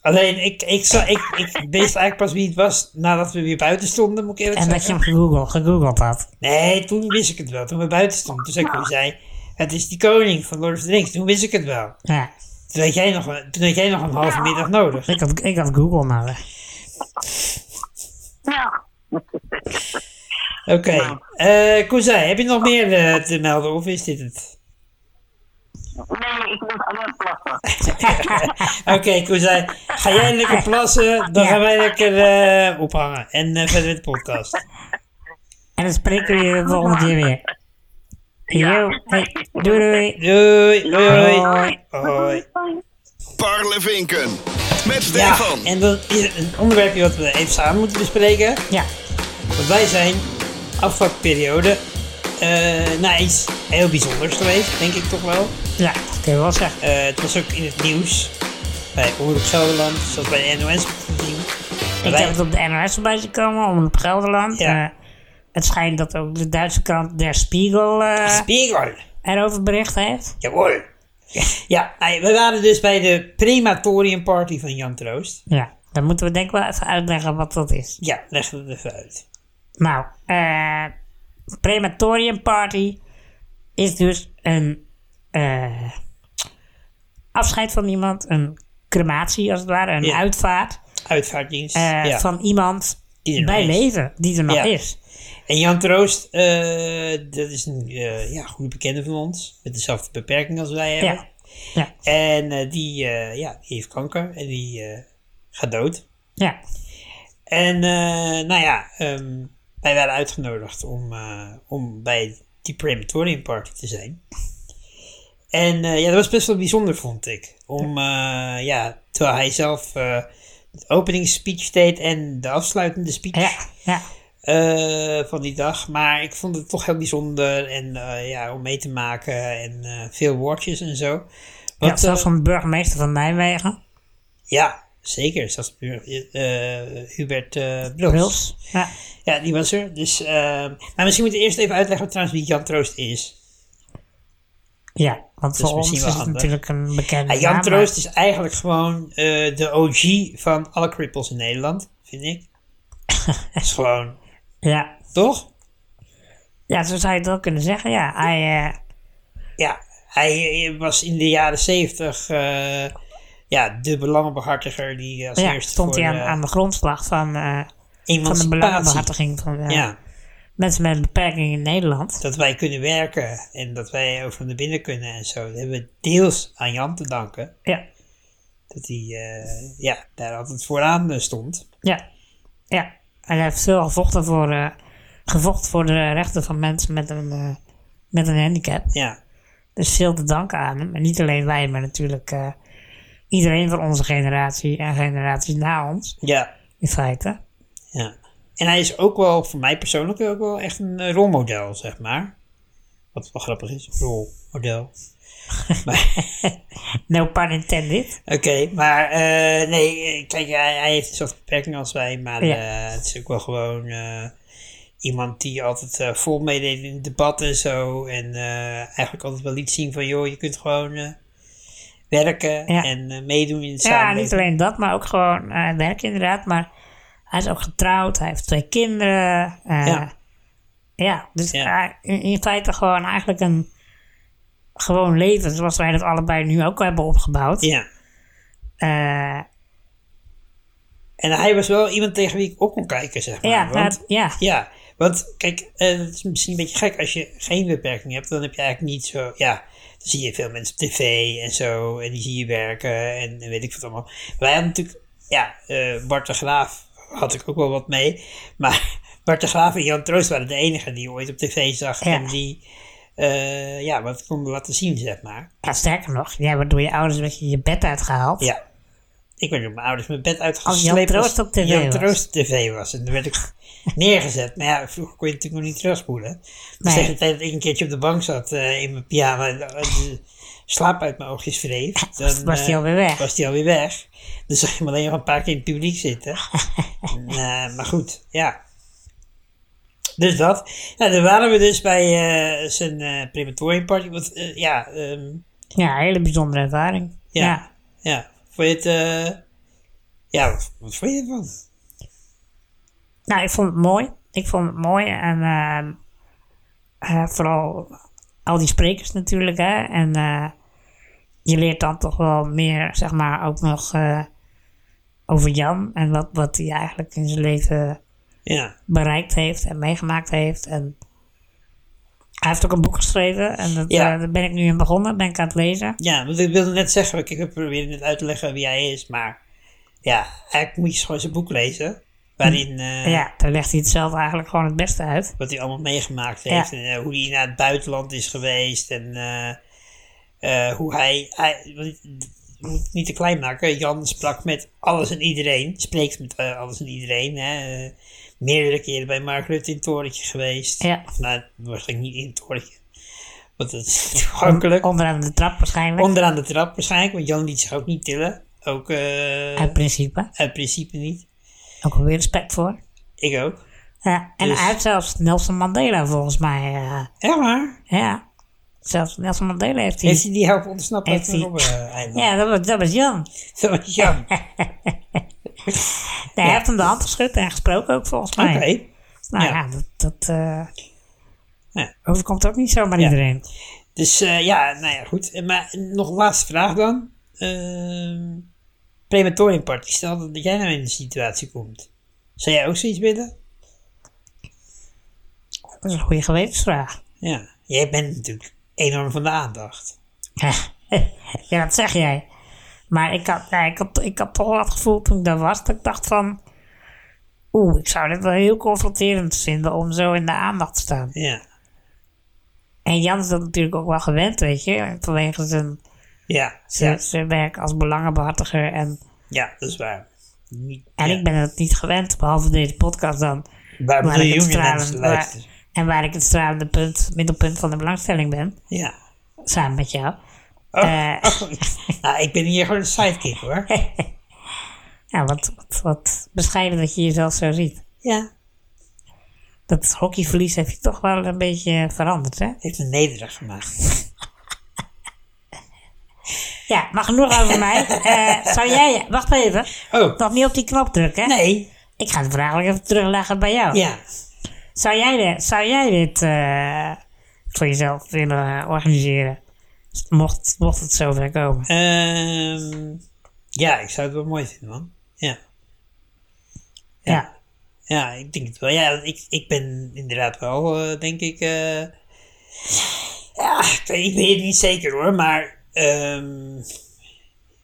Alleen, ik, ik, zou, ik, ik wist eigenlijk pas wie het was nadat we weer buiten stonden, moet ik eerlijk
En dat je
zeggen.
hem gegoogeld, gegoogeld had.
Nee, toen wist ik het wel, toen we buiten stonden. Toen zei ik, zei, het is die koning van Lord of the Rings. Toen wist ik het wel.
Ja,
Toen had jij nog, een- toen had jij nog een halve middag nodig.
ik had, ik had Google nodig.
Ja.
Oké,
Nou.
Eh Koezij, heb je
Oh.
nog meer eh, te melden of is dit het? <laughs>
Nee, ik moet alleen plassen.
Oké, Koezij, ga jij lekker plassen, dan
Ja.
gaan wij lekker eh, ophangen en eh, verder met de podcast.
En dan spreken we je de volgende keer weer. Yo, hey, doei doei.
Doei, doei.
Hoi.
Hoi.
Parlevinken. Met
Ja,
Stefan.
en dan is er een onderwerpje wat we even samen moeten bespreken.
Ja,
Want wij zijn afvakperiode eh naar iets heel bijzonders geweest, denk ik toch wel.
ja, dat kun je wel zeggen.
Eh, het was ook in het nieuws. Bij Omroep Gelderland, zoals bij de NOS te zien. Maar
Ik
wij-
heb het op de NOS voorbij zien komen, om op Gelderland.
Ja.
Eh, het schijnt dat ook de Duitse kant Der Spiegel eh,
Spiegel.
erover bericht heeft.
Jawohl. <laughs> Ja, nou ja, we waren dus bij de Prematorium Party van Jan Troost.
Ja, dan moeten we denk ik wel even uitleggen wat dat is.
Ja, leg het even uit.
Nou, eh Prematorium Party is dus een eh, afscheid van iemand, een crematie als het ware, een
Ja.
uitvaart
Uitvaartdienst.
eh,
ja.
van iemand
Die er nog
bij
is.
leven die er nog
Ja.
is.
En Jan Troost, eh, dat is een eh, ja, goede bekende van ons. Met dezelfde beperking als wij hebben.
Ja. Ja,
En eh, die, eh, ja, die heeft kanker en die eh, gaat dood.
ja,
En eh, nou ja, ehm, wij werden uitgenodigd om, eh, om bij die Prematorium Party te zijn. En eh, ja, dat was best wel bijzonder, vond ik. Om, eh, ja, terwijl hij zelf eh de openingsspeech deed en de afsluitende speech
ja, ja.
eh, van die dag. Maar ik vond het toch heel bijzonder en, eh, ja, om mee te maken en eh, veel woordjes en zo.
Ja,
Wat,
zelfs
eh,
van de burgemeester van Nijmegen,
Ja, zeker. Zelfs eh, eh, Hubert eh Bruls.
Bruls. Ja.
Ja, die was er. Dus, ehm, maar misschien moeten we eerst even uitleggen trouwens wie Jan Troost is.
ja, want voor ons
misschien
is
wel
het
handig.
natuurlijk een bekende
Ja, Jan
naam, maar-
Troost is eigenlijk gewoon eh, de OG van alle cripples in Nederland, vind
<laughs>
ik. Dat is gewoon,
Ja.
toch?
ja, zo zou je het ook kunnen zeggen, ja. Hij, eh,
Ja, hij eh, was in de jaren zeventig eh, ja, de belangenbehartiger die als
ja
eerste
stond
voor
hij aan,
eh,
aan de grondslag van... eh, van de
emancipatie-
belangenbehartiging van eh,
Ja,
mensen met een beperking in Nederland.
dat wij kunnen werken en dat wij over naar binnen kunnen en zo. Dat hebben we deels aan Jan te danken.
Ja,
Dat hij eh, ja, daar altijd vooraan eh, stond.
ja, ja. En hij heeft veel gevochten voor, eh, gevochten voor de rechten van mensen met een, eh, met een handicap.
Ja,
Dus veel te danken aan hem. En niet alleen wij, maar natuurlijk eh, iedereen van onze generatie en generaties na ons,
ja,
in feite.
ja. En hij is ook wel, voor mij persoonlijk, ook wel echt een eh, rolmodel, zeg maar. Wat wel grappig is, rolmodel.
No pun intended.
Oké, maar eh, nee, eh, kijk, hij, hij heeft dezelfde beperking als wij, maar
Ja.
eh, het is ook wel gewoon eh, iemand die altijd eh, vol meedeed in het debat en zo. En eh, eigenlijk altijd wel liet zien van, joh, je kunt gewoon eh, werken
Ja.
en eh, meedoen in het
Ja,
samenleving.
niet alleen dat, maar ook gewoon eh werk inderdaad. Maar hij is ook getrouwd, hij heeft twee kinderen. eh,
Ja.
ja. dus
Ja.
hij- in, in feite gewoon eigenlijk een gewoon leven zoals wij dat allebei nu ook hebben opgebouwd.
Ja.
Eh,
En hij was wel iemand tegen wie ik op kon kijken, zeg maar.
ja,
want,
dat- ja,
ja, want kijk, eh, het is misschien een beetje gek. Als je geen beperking hebt, dan heb je eigenlijk niet zo... Ja, dan zie je veel mensen op tv en zo. En die zie je werken en, en weet ik wat allemaal. Wij hadden natuurlijk... Ja, eh, Bart de Graaf had ik ook wel wat mee. Maar <laughs> Bart de Graaf en Jan Troost waren de enigen die je ooit op tv zag.
Ja.
En die eh, ja, wat konden laten zien, zeg maar.
ja, sterker nog, jij wordt door je ouders een beetje je bed uitgehaald.
Ja. Ik werd door mijn ouders mijn bed
Als
uitgesleept.
Oh, Jan Troost op tv
Jan
was.
Troost op tv was. En dan werd ik neergezet. Maar ja, vroeger kon je natuurlijk nog niet terugspoelen. Dus
Nee.
tegen de tijd dat ik een keertje op de bank zat eh, in mijn pyjama. eh, eh, slaap uit mijn oogjes wreef,
<laughs> was-
dan
was die
eh,
alweer weg.
Was die alweer weg. Dan zag je hem alleen nog een paar keer in het publiek
<laughs>
zitten. En, eh, maar goed, ja. Dus dat. Nou, dan waren we dus bij eh, zijn eh crematoriumparty. Want eh, ja, ehm,
Ja, een hele bijzondere ervaring.
ja,
Ja.
ja. Vond je het... eh, ja, wat, wat vond je ervan?
Nou, ik vond het mooi. Ik vond het mooi. En ehm, eh, vooral al die sprekers natuurlijk. Hè? En eh, je leert dan toch wel meer, zeg maar, ook nog eh, over Jan. En wat, wat hij eigenlijk in zijn leven
Ja.
bereikt heeft en meegemaakt heeft. En hij heeft ook een boek geschreven. En dat,
Ja.
eh, daar ben ik nu in begonnen. Ben ik aan het lezen.
Ja, want ik wilde net zeggen, ik heb probeerde net uit te leggen wie hij is, maar ja, eigenlijk moet je gewoon zijn boek lezen, waarin eh,
ja, daar legt hij het zelf eigenlijk gewoon het beste uit.
wat hij allemaal meegemaakt
Ja.
heeft en eh, hoe hij naar het buitenland is geweest en eh, eh, hoe hij, hij want ik moet het niet te klein maken, Jan sprak met alles en iedereen, spreekt met eh, alles en iedereen, hè. eh, meerdere keren bij Mark Rutte in het torentje geweest,
Ja.
nou, waarschijnlijk niet in het torentje, want dat is toegankelijk.
Onderaan de trap waarschijnlijk.
Onderaan de trap waarschijnlijk, want Jan liet zich ook niet tillen. Ook eh,
uit principe.
uit principe niet.
Ook wel weer respect voor.
Ik ook.
Ja, en
Dus-
hij heeft zelfs Nelson Mandela volgens mij. eh,
Ja, maar.
ja, zelfs Nelson Mandela heeft hij.
Heeft hij die helpen ontsnappen uit
Heeft
de
hij-
Robben-eiland? <laughs>
ja, dat was, dat was Jan.
Zo eh, was Jan. Oké.
Nee, Hij heeft hem de hand geschud en gesproken ook volgens mij. Nou
ja.
ja, dat, dat eh,
Ja.
overkomt ook niet zomaar
Ja.
iedereen.
Dus eh, ja, nou ja, goed. Eh, Maar nog een laatste vraag dan. Ehm Prematoriumparty, stel dat jij nou in de situatie komt. Zou jij ook zoiets willen?
Dat is een goede gewetensvraag.
Ja. Jij bent natuurlijk enorm van de aandacht.
<laughs> ja, dat zeg jij. Maar ik had, ja, ik, had, ik had toch wel het gevoel toen ik daar was, dat ik dacht van... Oeh, ik zou dit wel heel confronterend vinden om zo in de aandacht te staan.
Ja.
En Jan is dat natuurlijk ook wel gewend, weet je. Vanwege zijn,
Ja.
zijn,
Ja,
zijn werk als belangenbehartiger. En,
ja dat is waar. Niet,
en
ja.
ik ben dat niet gewend, behalve deze podcast dan.
Waar
Waar ik, het
miljoenen mensen
stralende, waar-
luisteren.
en waar ik het stralende punt, middelpunt van de belangstelling ben.
Ja.
<laughs> Samen met jou.
Oh,
Eh. <laughs>
oh, nou, ik ben hier gewoon een sidekick hoor.
Ja, wat, wat, wat bescheiden dat je jezelf zo ziet.
Ja.
Dat hockeyverlies heb je toch wel een beetje veranderd, hè?
Heeft me nederig gemaakt.
Ja, maar genoeg
<laughs>
over mij. Eh, zou jij, wacht even,
Oh,
nog niet op die knop drukken. hè?
nee.
Ik ga het vraag even terugleggen bij jou.
Ja.
Zou, jij dit, zou jij dit eh, voor jezelf willen eh, organiseren? Mocht, mocht het zover komen.
Ehm, ja, ik zou het wel mooi vinden man. Ja.
Ja.
Ja, ik denk het wel. Ja, want ik, ik ben inderdaad wel, eh, denk ik. eh, ja, ik weet, ik weet het niet zeker hoor, maar. ehm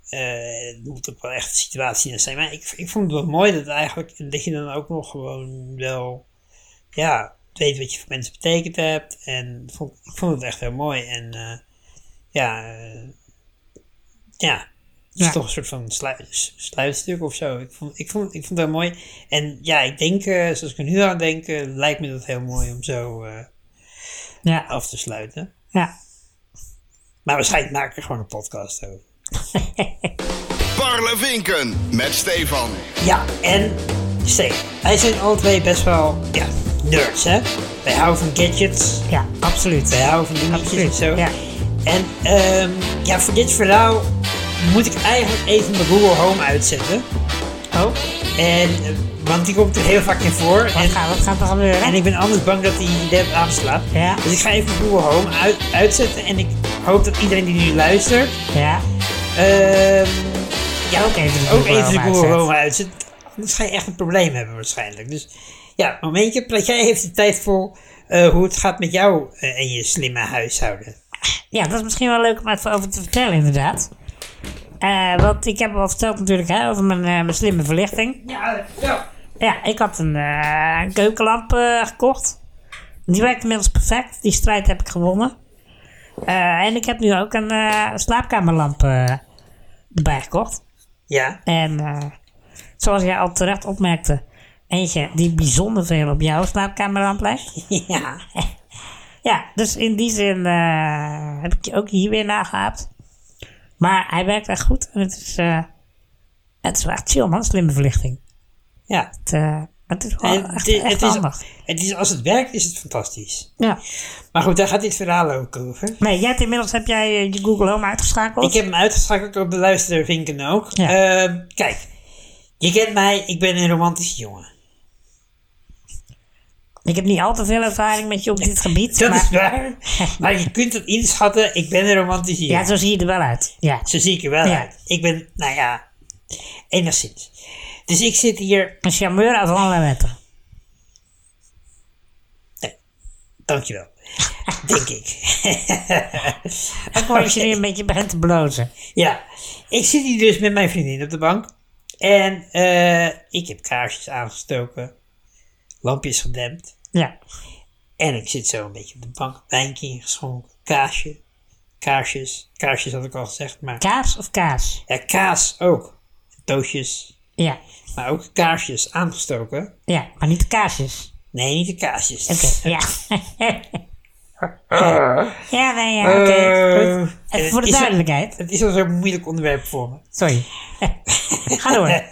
eh, het moet ook wel echt een situatie zijn. Maar ik, ik vond het wel mooi dat eigenlijk. dat je dan ook nog gewoon wel. ja, weet wat je voor mensen betekend hebt. En vond, ik vond het echt heel mooi. En eh, ja. eh, ja, het is
Ja.
toch een soort van slui- s- sluitstuk of zo. Ik vond, ik, vond, ik vond dat mooi. En ja, ik denk, eh, zoals ik er nu aan denk, eh, lijkt me dat heel mooi om zo eh,
Ja,
af te sluiten.
ja.
Maar waarschijnlijk maak ik er gewoon een podcast over.
Parlevinken met Stefan.
Ja, en Steve. Wij zijn alle twee best wel, ja, nerds, hè? Wij houden van gadgets.
ja absoluut.
Wij houden van dingetjes en
absoluut.
zo.
Ja.
En ehm, ja, voor dit verhaal moet ik eigenlijk even mijn Google Home uitzetten.
Oh,
En, eh, want die komt er heel vaak in voor.
wat,
en
gaat, wat gaat er gebeuren?
En ik ben anders bang dat hij de app aanslaat.
Ja.
Dus ik ga even Google Home uit, uitzetten. En ik hoop dat iedereen die nu luistert...
ja,
ehm, ja,
Ook even de
ook
Google
even de
Home
Google
uitzet.
Home uitzet. Anders ga je echt een probleem hebben waarschijnlijk. Dus ja, momentje. Praat jij heeft de tijd voor eh, hoe het gaat met jou eh, en je slimme huishouden.
ja, dat is misschien wel leuk om even over te vertellen, inderdaad. Eh, want ik heb al verteld natuurlijk hè, over mijn, eh, mijn slimme verlichting.
Ja, ja.
Ja, ik had een, eh, een keukenlamp eh, gekocht. Die werkt inmiddels perfect. Die strijd heb ik gewonnen. Eh, en ik heb nu ook een eh, slaapkamerlamp eh, erbij gekocht. <laughs>
Ja,
En eh, zoals jij al terecht opmerkte, eentje die bijzonder veel op jouw slaapkamerlamp lijkt.
ja.
Ja, dus in die zin eh, heb ik je ook hier weer nageaapt. Maar hij werkt echt goed en het is, eh, het is wel echt chill man, slimme verlichting.
Ja.
Het, eh, het is wel
En
echt,
di-
echt
het is,
handig.
het is, als het werkt, is het fantastisch.
Ja.
Maar goed, daar gaat dit verhaal ook over.
Nee, jij hebt inmiddels heb jij eh, je Google Home uitgeschakeld.
Ik heb hem uitgeschakeld op de luisteraar Vinken ook.
Ja.
Ehm, kijk, je kent mij, ik ben een romantische jongen.
Ik heb niet al te veel ervaring met je op dit
<laughs>
gebied.
Dat
maar,
is
<laughs>
waar. maar je kunt het inschatten, ik ben een romantische jongen.
Ja, zo zie je er wel uit. Ja.
Zo zie ik er wel
Ja.
uit. Ik ben, nou ja, enigszins. Dus ik zit hier,
Een charmeur uit allerlei wetten. <laughs>
dankjewel. Denk ik.
Ik hoor dat je nu een beetje begint te blozen.
Ja, ik zit hier dus met mijn vriendin op de bank. En eh, ik heb kaarsjes aangestoken, lampjes gedempt.
Ja.
En ik zit zo een beetje op de bank, wijntje ingeschonken, kaasje, kaarsjes. Kaarsjes had ik al gezegd, maar
Kaas of kaas?
ja, kaas ook. Doosjes,
Ja.
maar ook kaarsjes aangestoken.
Ja, maar niet de kaasjes.
Nee, niet de kaarsjes.
Oké,
<laughs>
ja. ja, nee, ja, oké.
Eh,
goed. Even
eh,
voor de
is er-
duidelijkheid.
Het is al zo'n moeilijk onderwerp voor me. <laughs>
Sorry. Ga door.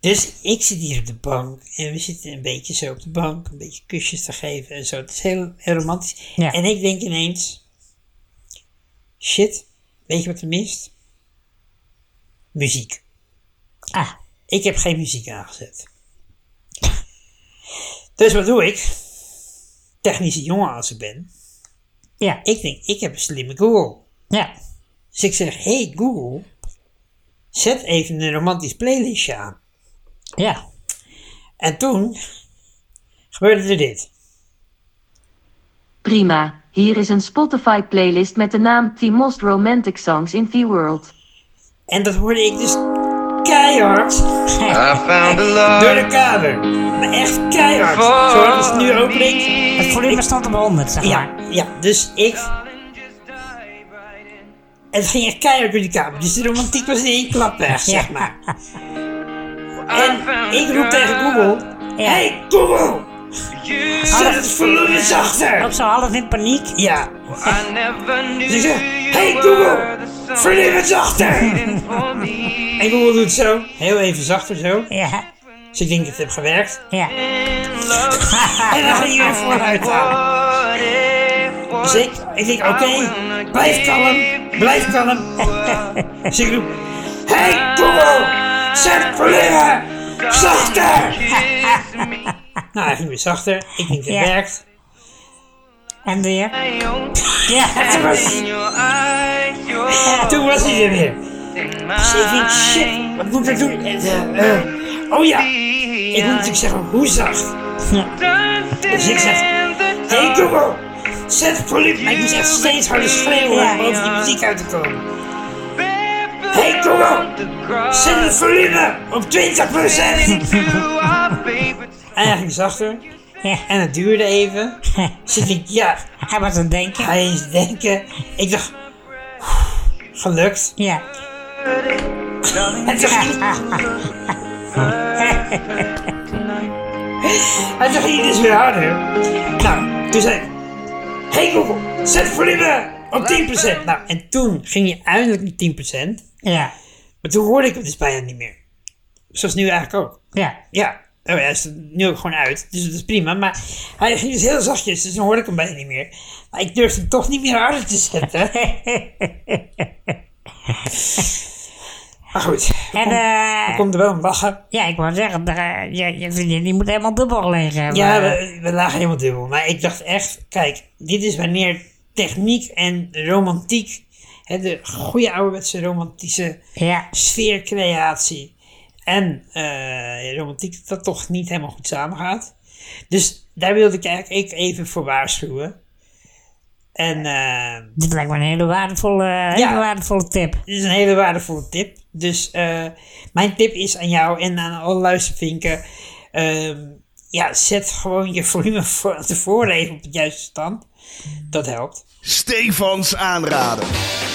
Dus ik zit hier op de bank en we zitten een beetje zo op de bank, een beetje kusjes te geven en zo. Het is heel, heel romantisch.
Ja.
En ik denk ineens: shit, weet je wat er mist? Muziek.
Ah,
Ik heb geen muziek aangezet. Dus wat doe ik? Technische jongen als ik ben.
ja.
Ik denk, ik heb een slimme Google.
Ja.
Dus ik zeg, hey Google, zet even een romantisch playlistje aan.
Ja.
En toen gebeurde er dit.
Prima, hier is een Spotify playlist met de naam The Most Romantic Songs in the World.
En dat hoorde ik dus keihard
I
Ah.
found a
door
love
de kamer. Maar echt keihard. Zoals het nu ook klinkt.
Het volume stond op 100, zeg maar.
Ja, ja, dus ik... En het ging echt keihard door die kamer. Dus de romantiek was in één klap weg,
<laughs>
zeg maar. En ik roep tegen Google... Hey Google! Zet het volume
Ook
zachter!
zo half in paniek.
Ja,
I never knew
dus ik zeg...
you
Hey
were
Google!
the sun
Volume het zachter!
for me.
<laughs> En Google doet zo. Heel even zachter zo.
Ja.
Dus ik denk dat het heeft gewerkt.
Ja.
En dan ging je weer vooruit halen.
What if
nou, Dus ik, ik denk, oké, blijf kalm, blijf kalm. <laughs> dus ik roep, hey Google, zet het volume zachter. <laughs> nou, hij ging weer zachter. Ik denk, het
Ja.
werkt. <laughs>
En weer. Ja.
Toen was, toen was hij er weer. Dus ik denk, shit, wat moet ik doen? En, eh, eh, oh ja, ik moet natuurlijk zeggen, hoe zacht? Dus ik zeg, hey Google, zet het volume. Maar ik moest echt steeds harder schreeuwen
Ja.
om boven die muziek uit te komen. Hey Google, zet het volume op <laughs> 20%! en hij ging zachter.
Ja.
En het duurde even. Dus ik denk, ja,
Hij was aan het denken.
ga eens denken. Ik dacht, gelukt.
Ja. Ah,
En toen ging,
<laughs>
en toen ging hij dus weer harder. Nou, toen zei ik, hey Google, zet het volume op 10%. Nou, en toen ging je eindelijk naar 10%.
Ja.
Maar toen hoorde ik het dus bijna niet meer. Zoals nu eigenlijk ook.
Ja.
Ja, oh, ja, hij is er nu ook gewoon uit, dus dat is prima. Maar hij ging dus heel zachtjes, dus dan hoorde ik hem bijna niet meer. Maar ik durfde hem toch niet meer harder te zetten. maar goed,
En
er
eh
komt er wel een lachen.
ja, ik wou zeggen, daar, eh, je, je vriendin die moet helemaal dubbel gelegen hebben.
Ja, we, eh, we lagen helemaal dubbel. Maar ik dacht echt, kijk, dit is wanneer techniek en romantiek, hè, de goede ouderwetse romantische
eh, Ja,
sfeercreatie en eh, romantiek, dat dat toch niet helemaal goed samengaat. Dus daar wilde ik eigenlijk ik even voor waarschuwen. En eh,
dit lijkt me een hele waardevolle, hele waardevolle tip.
dit is een hele waardevolle tip. Dus eh, mijn tip is aan jou en aan alle luistervinken. ehm, ja, zet gewoon je volume <laughs> voor, tevoren even op het juiste stand. Dat helpt.
Stefans aanraden.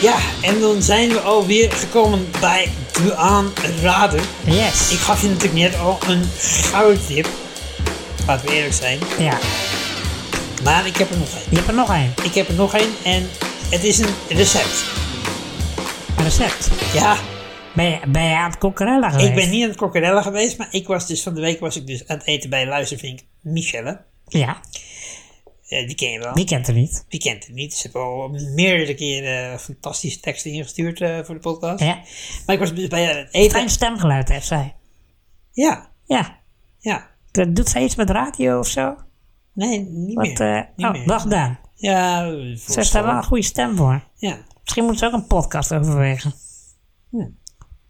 Ja, en dan zijn we alweer gekomen bij de aanrader.
Yes.
Ik gaf je natuurlijk net al een gouden tip. Laten we eerlijk zijn.
Ja,
Maar ik heb er nog één.
je hebt er nog één.
Ik heb er nog één en het is een recept.
recept.
Ja,
Ben je, ben je aan het kokerellen geweest?
ik ben niet aan het Cocarella geweest, maar ik was dus van de week was ik dus aan het eten bij luistervink Michelle.
Ja,
Oh. Eh, die ken je wel.
die kent hem niet.
Wie kent het niet? Ze hebben al meerdere keren eh, fantastische teksten ingestuurd eh, voor de podcast.
Ja.
Maar ik was dus bij haar aan het eten.
Fijn stemgeluid heeft zij.
Ja,
Ja.
ja.
Dat doet zij iets met radio of zo?
Nee, niet
Wat,
meer.
eh,
Niet
oh,
meer.
dag Daan.
Ja,
Ze heeft daar wel een goede stem voor.
Ja,
Misschien moeten ze ook een podcast overwegen.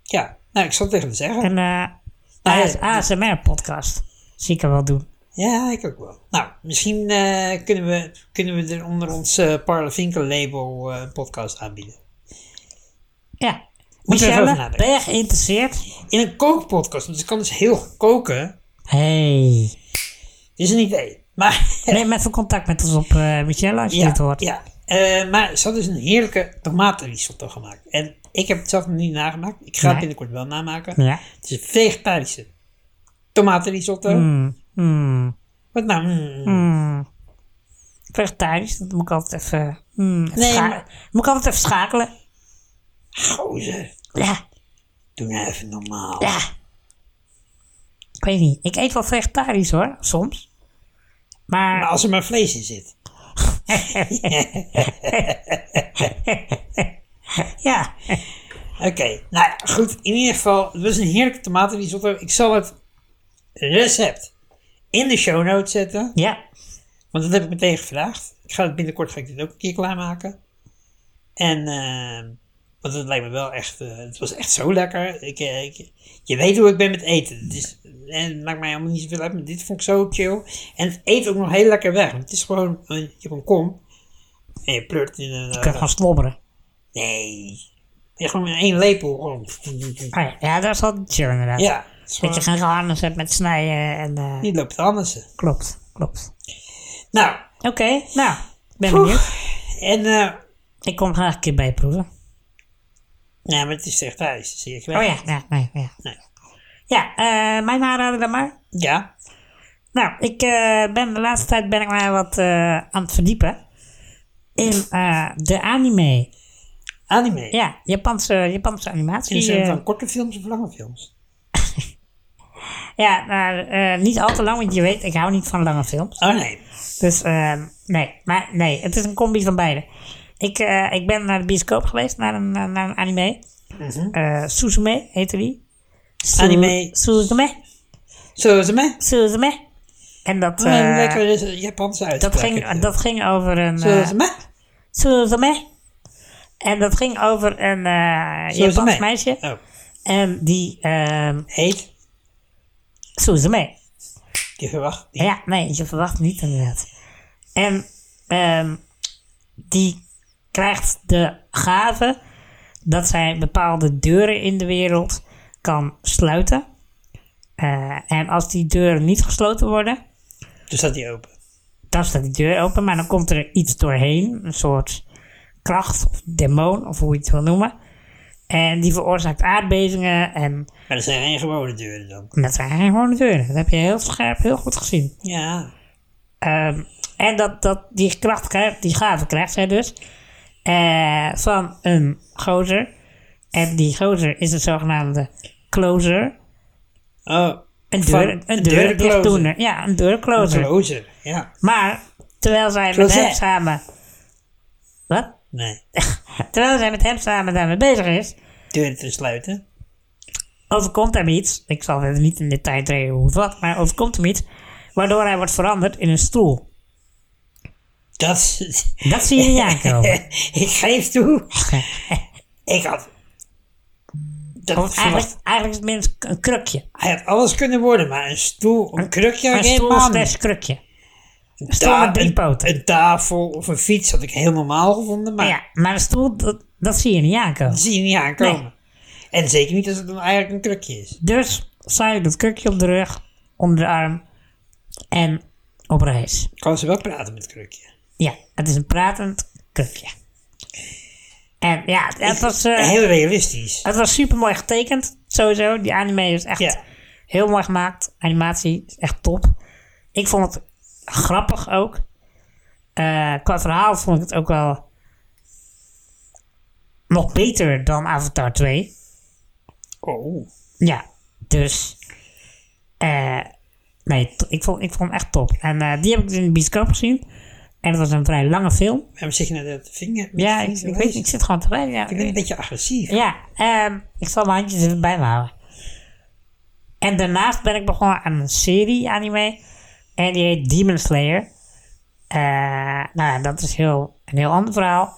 ja. Nou, ik zal het tegen haar zeggen.
Een eh
ja,
AS ASMR-podcast. Zie ik er wel doen.
Ja, ik ook wel. Nou, misschien eh, kunnen, we, kunnen we er onder ons eh Parle Vinkel label eh, een podcast aanbieden.
Ja.
Moet je even over
Michelle,
nadenken.
ben je geïnteresseerd?
In een kookpodcast, want ze kan dus heel goed koken.
Hey.
Dit is een idee. Maar, <laughs>
Neem even contact met ons op, eh Michelle, als je
ja,
dit hoort.
ja. Eh, maar ze had dus een heerlijke tomatenrisotto gemaakt. En ik heb het zelf nog niet nagemaakt. Ik ga het
Nee.
binnenkort wel namaken.
Ja.
Het is een vegetarische tomatenrisotto.
Mm, mm,
Wat nou? mm.
mm. Vegetarisch, dat moet ik altijd even... mm, even
Nee,
scha-
maar-
Moet ik altijd even schakelen.
Gozer,
Ja,
doe nou even normaal.
ja. Ik weet niet. Ik eet wel vegetarisch hoor, soms. Maar...
Maar als er maar vlees in zit.
<laughs> Ja,
Oké, nou ja, goed. In ieder geval, het was een heerlijke tomatenrisotto. Ik zal het recept in de show notes zetten.
ja.
Want dat heb ik meteen gevraagd. Ik ga het binnenkort ga ik dit ook een keer klaarmaken. En, ehm want het lijkt me wel echt, eh, het was echt zo lekker. Ik, eh, ik- je weet hoe ik ben met eten. Het, is, en het maakt mij helemaal niet zoveel uit, maar dit vond ik zo chill. En het eet ook nog heel lekker weg. Want het is gewoon, een- je hebt een kom. En je pleurt in een...
Ik kan
eh,
gaan slobberen.
nee. Je gewoon in één lepel. Oh, Gewoon.
Ah ja, ja, dat is wel chill inderdaad.
Ja. Het is
Dat je
gewoon,
geen geharnis hebt met snijden en... eh,
niet loopt anders.
Klopt, klopt.
Nou,
Oké, nou, ik ben benieuwd.
en... eh
Ik kom graag een keer bijproeven.
nou, maar het is echt thuis. Zie ik wel.
Oh ja, ja, nee, ja.
Nee.
Ja, eh, mijn aanrader dan maar.
Ja.
Nou, ik eh, ben de laatste tijd ben ik mij wat eh, aan het verdiepen. In eh, de anime.
Anime.
Ja, Japanse, Japanse
In de
animatie.
zin
eh,
van korte films of lange films?
ja, maar eh, niet al te lang, want je weet, ik hou niet van lange films.
Oh nee.
Dus ehm, nee, maar nee, het is een combi van beide. Ik, eh, ik ben naar de bioscoop geweest, naar een, eh, naar een anime. Eh, Suzume heette die. Su-
Mhm. Anime.
Suzume.
Zo is het mij.
Suzume. En dat,
Wat een
eh,
Oh, lekker is- Japanse uitspraak.
dat, ging,
heb je.
dat ging over een...
Zo is
eh,
het mij.
Suzume. En dat ging over een eh
Suzume.
Japans meisje.
Oh,
En die... ehm
heet.
Suzume.
Die verwacht. Die.
Ja, nee, je verwacht het niet inderdaad. En ehm, die krijgt de gave dat zij bepaalde deuren in de wereld kan sluiten. Eh, en als die deuren niet gesloten worden,
Toen staat die open.
dan staat die deur open, maar dan komt er iets doorheen, een soort kracht of demon of hoe je het wil noemen. En die veroorzaakt aardbevingen en
Maar er zijn geen gewone deuren dan.
dat zijn geen gewone deuren. Dat heb je heel scherp, heel goed gezien.
Ja.
Ehm, en dat, dat die kracht krijgt, die gave krijgt zij dus eh, van een gozer. En die gozer is een zogenaamde closer.
Oh,
Een
Van-
deur, een
een
deur
deurencloser.
dichtdoener. Ja, een deurcloser.
closer. Ja.
Maar terwijl zij met
Closet.
hem samen... Wat?
Nee.
<laughs> Terwijl zij met hem samen daarmee bezig is,
Deuren te sluiten.
overkomt hem iets. Ik zal verder niet in detail treden hoe of wat, maar overkomt hem iets. Waardoor hij wordt veranderd in een stoel.
Dat is...
Dat zie je niet aankomen.
<laughs> ik geef toe. <laughs> ik had... Dat
Want
verwacht.
eigenlijk, eigenlijk is het minstens een krukje.
Hij had alles kunnen worden, maar een stoel, een krukje,
Een
geen
stoel
man.
slash krukje. stoel met drie
een-
poten.
Een tafel of een fiets had ik helemaal normaal gevonden, maar
Maar, ja, maar een stoel, dat, dat zie je niet aankomen.
Dat zie je niet aankomen. En zeker niet als het dan eigenlijk een krukje is.
Dus zij dat krukje op de rug, onder de arm en op reis.
Kan ze wel praten met krukje.
Ja, het is een pratend krukje. En ja, het was... eh,
Heel realistisch.
Het was super mooi getekend, sowieso. Die anime is echt
Ja.
heel mooi gemaakt. Animatie is echt top. Ik vond het grappig ook. Eh, qua verhaal vond ik het ook wel nog beter dan Avatar 2.
Oh.
Ja, dus. eh, nee, t- ik vond, ik vond hem echt top. En eh, die heb ik dus in de bioscoop gezien. En dat was een vrij lange film.
Waarom zeg je nou dat vinger?
Ja, ik,
vinger-
ik weet niet, ik zit gewoon te rijden. Ja,
Ik ben een beetje agressief.
ja ehm, ik zal mijn handjes even bij me houden. En daarnaast ben ik begonnen aan een serie anime. En die heet Demon Slayer. Eh, nou ja, dat is heel, een heel ander verhaal.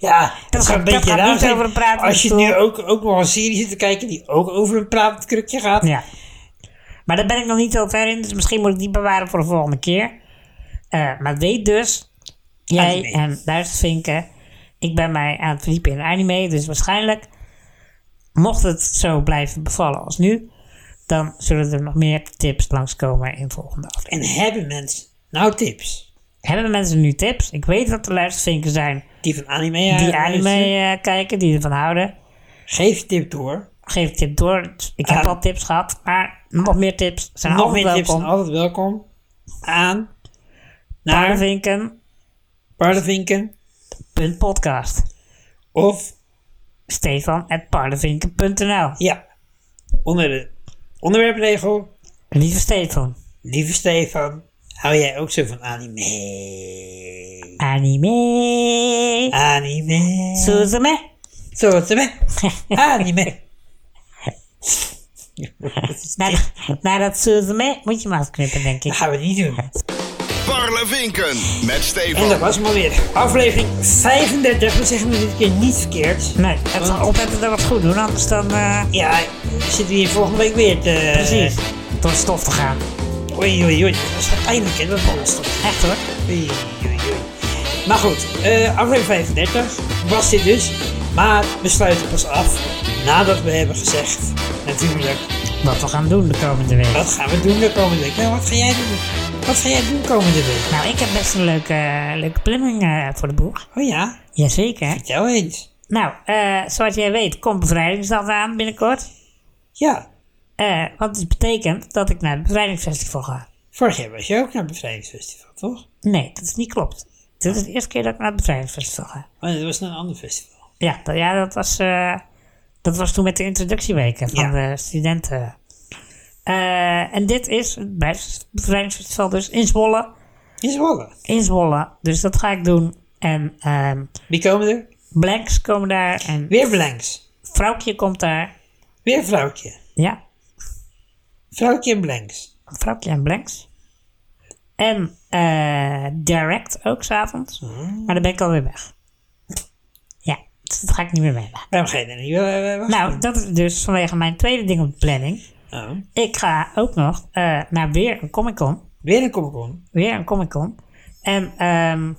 Ja, dat is
gaat-
een beetje
dat gaat
raar
niet
zijn.
over een praatkruk,
Als je
toch?
nu ook, ook nog een serie zit te kijken die ook over een praatkrukje gaat.
Ja. Maar daar ben ik nog niet heel ver in, dus misschien moet ik die bewaren voor de volgende keer. Eh, maar weet dus, jij
Anime.
en Duistervinken, ik ben mij aan het verdiepen in anime, dus waarschijnlijk, mocht het zo blijven bevallen als nu, dan zullen er nog meer tips langskomen in de volgende aflevering.
En hebben mensen nou tips?
Hebben mensen nu tips? Ik weet dat er Duistervinken zijn
Die van anime
die
eh,
anime
luisteren?
eh, kijken, die ervan houden.
Geef je tip door.
Geef een tip door. dus Ik heb
Aan-
al tips gehad, maar nog meer tips zijn
nog meer
altijd
tips zijn
welkom.
altijd welkom. Aan naar
Duistervinken,
Parlevinken
Punt podcast.
of
Stefan at parlevinken.nl.
ja, onder de onderwerpregel.
Lieve Stefan,
Lieve Stefan, hou jij ook zo van anime?
anime.
Anime.
Suzume. <laughs>
Zo wat ze weg. Anime.
Naar, naar dat Suzume moet je maar eens knippen, denk
Dat
ik.
gaan we niet doen.
Parlevinken met
En dat
Stefan.
was hem alweer. Aflevering 35. We zeggen het dit keer niet verkeerd.
Nee, het is opletten dat we het goed doen, anders dan eh,
Ja, we zitten hier volgende week weer te...
precies door het stof te gaan.
Oei, oei, oei. Dat is wel pijnlijk, hè, dat alles toch.
Echt hoor.
Oei, oei, oei. Maar goed, eh, aflevering 35 was dit dus. Maar we sluiten pas af nadat we hebben gezegd, natuurlijk,
Wat we gaan doen de komende week.
wat gaan we doen de komende week? Nou, wat ga jij doen? Wat ga jij doen komende week?
Nou, ik heb best een leuke, leuke planning eh, voor de boeg.
Oh ja,
Jazeker.
vertel eens.
Nou, eh, zoals jij weet komt Bevrijdingsdag aan binnenkort.
Ja,
Eh, wat dus betekent dat ik naar het Bevrijdingsfestival ga.
Vorig jaar was je ook naar het bevrijdingsfestival, toch?
Nee, dat is niet klopt. Dit is de eerste keer dat ik naar het bevrijdingsfestival ga.
Oh, nee, dat was naar een ander festival.
Ja, dat, ja, dat, was, eh, dat was toen met de introductieweken van
Ja.
de studenten. Eh, en dit is het Bevrijdings- bevrijdingsfestival dus in Zwolle.
In Zwolle.
In Zwolle. Dus dat ga ik doen. En ehm,
Wie komen er?
Blanks komen daar. En
Weer Blanks.
Vrouwtje komt daar.
Weer Vrouwtje.
Ja,
Vrouwtje en Blanks.
Vrouwtje en Blanks. En eh, Direct ook s'avonds.
Mm.
Maar daar ben ik alweer weg. Ja, dus dat ga ik niet meer mee.
Waarom ga je daar niet eh, wachten?
Nou, dat is dus vanwege mijn tweede ding op de planning.
Oh.
Ik ga ook nog eh, naar weer een Comic Con.
Weer een Comic-Con.
Weer een Comic Con. En ehm,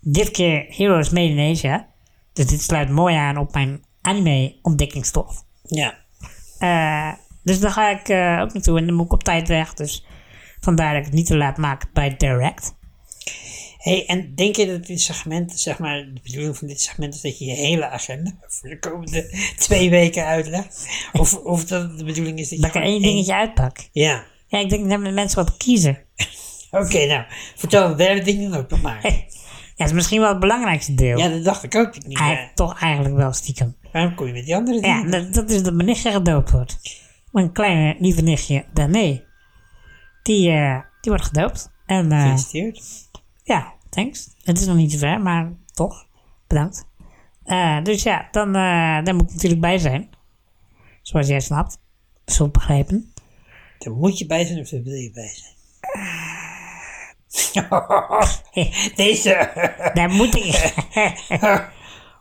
dit keer Heroes Made in Asia. Dus dit sluit mooi aan op mijn anime ontdekkingstof.
Ja.
Eh, dus daar ga ik eh, ook naartoe en dan moet ik op tijd weg. Dus vandaar dat ik het niet te laat maak bij Direct.
hey, en denk je dat dit segment, zeg maar, de bedoeling van dit segment is dat je je hele agenda voor de komende <laughs> twee weken uitlegt? Of, of dat het de bedoeling is dat je...
Dat ik er
gewoon
één dingetje uitpak.
Ja.
Ja, ik denk dat mensen wat kiezen.
Oké, nou, vertel het derde ding dan ook nog maar.
Ja, dat is misschien wel het belangrijkste deel.
Ja, dat dacht ik ook niet
Eigen-
meer.
toch eigenlijk wel stiekem.
Waarom kom je met die andere dingen?
Ja, nou, dat, dat is dat mijn nichtje gedoopt wordt. Mijn kleine lieve nichtje, Dané. Die, eh, die wordt gedoopt. En eh,
Gefeliciteerd.
ja, thanks. Het is nog niet zo ver, maar toch. Bedankt. Eh, dus ja, dan, eh, daar moet ik natuurlijk bij zijn. Zoals jij snapt. Zo begrepen.
Daar moet je bij zijn of daar wil je bij zijn? Deze.
<laughs> Daar moet ik... <laughs>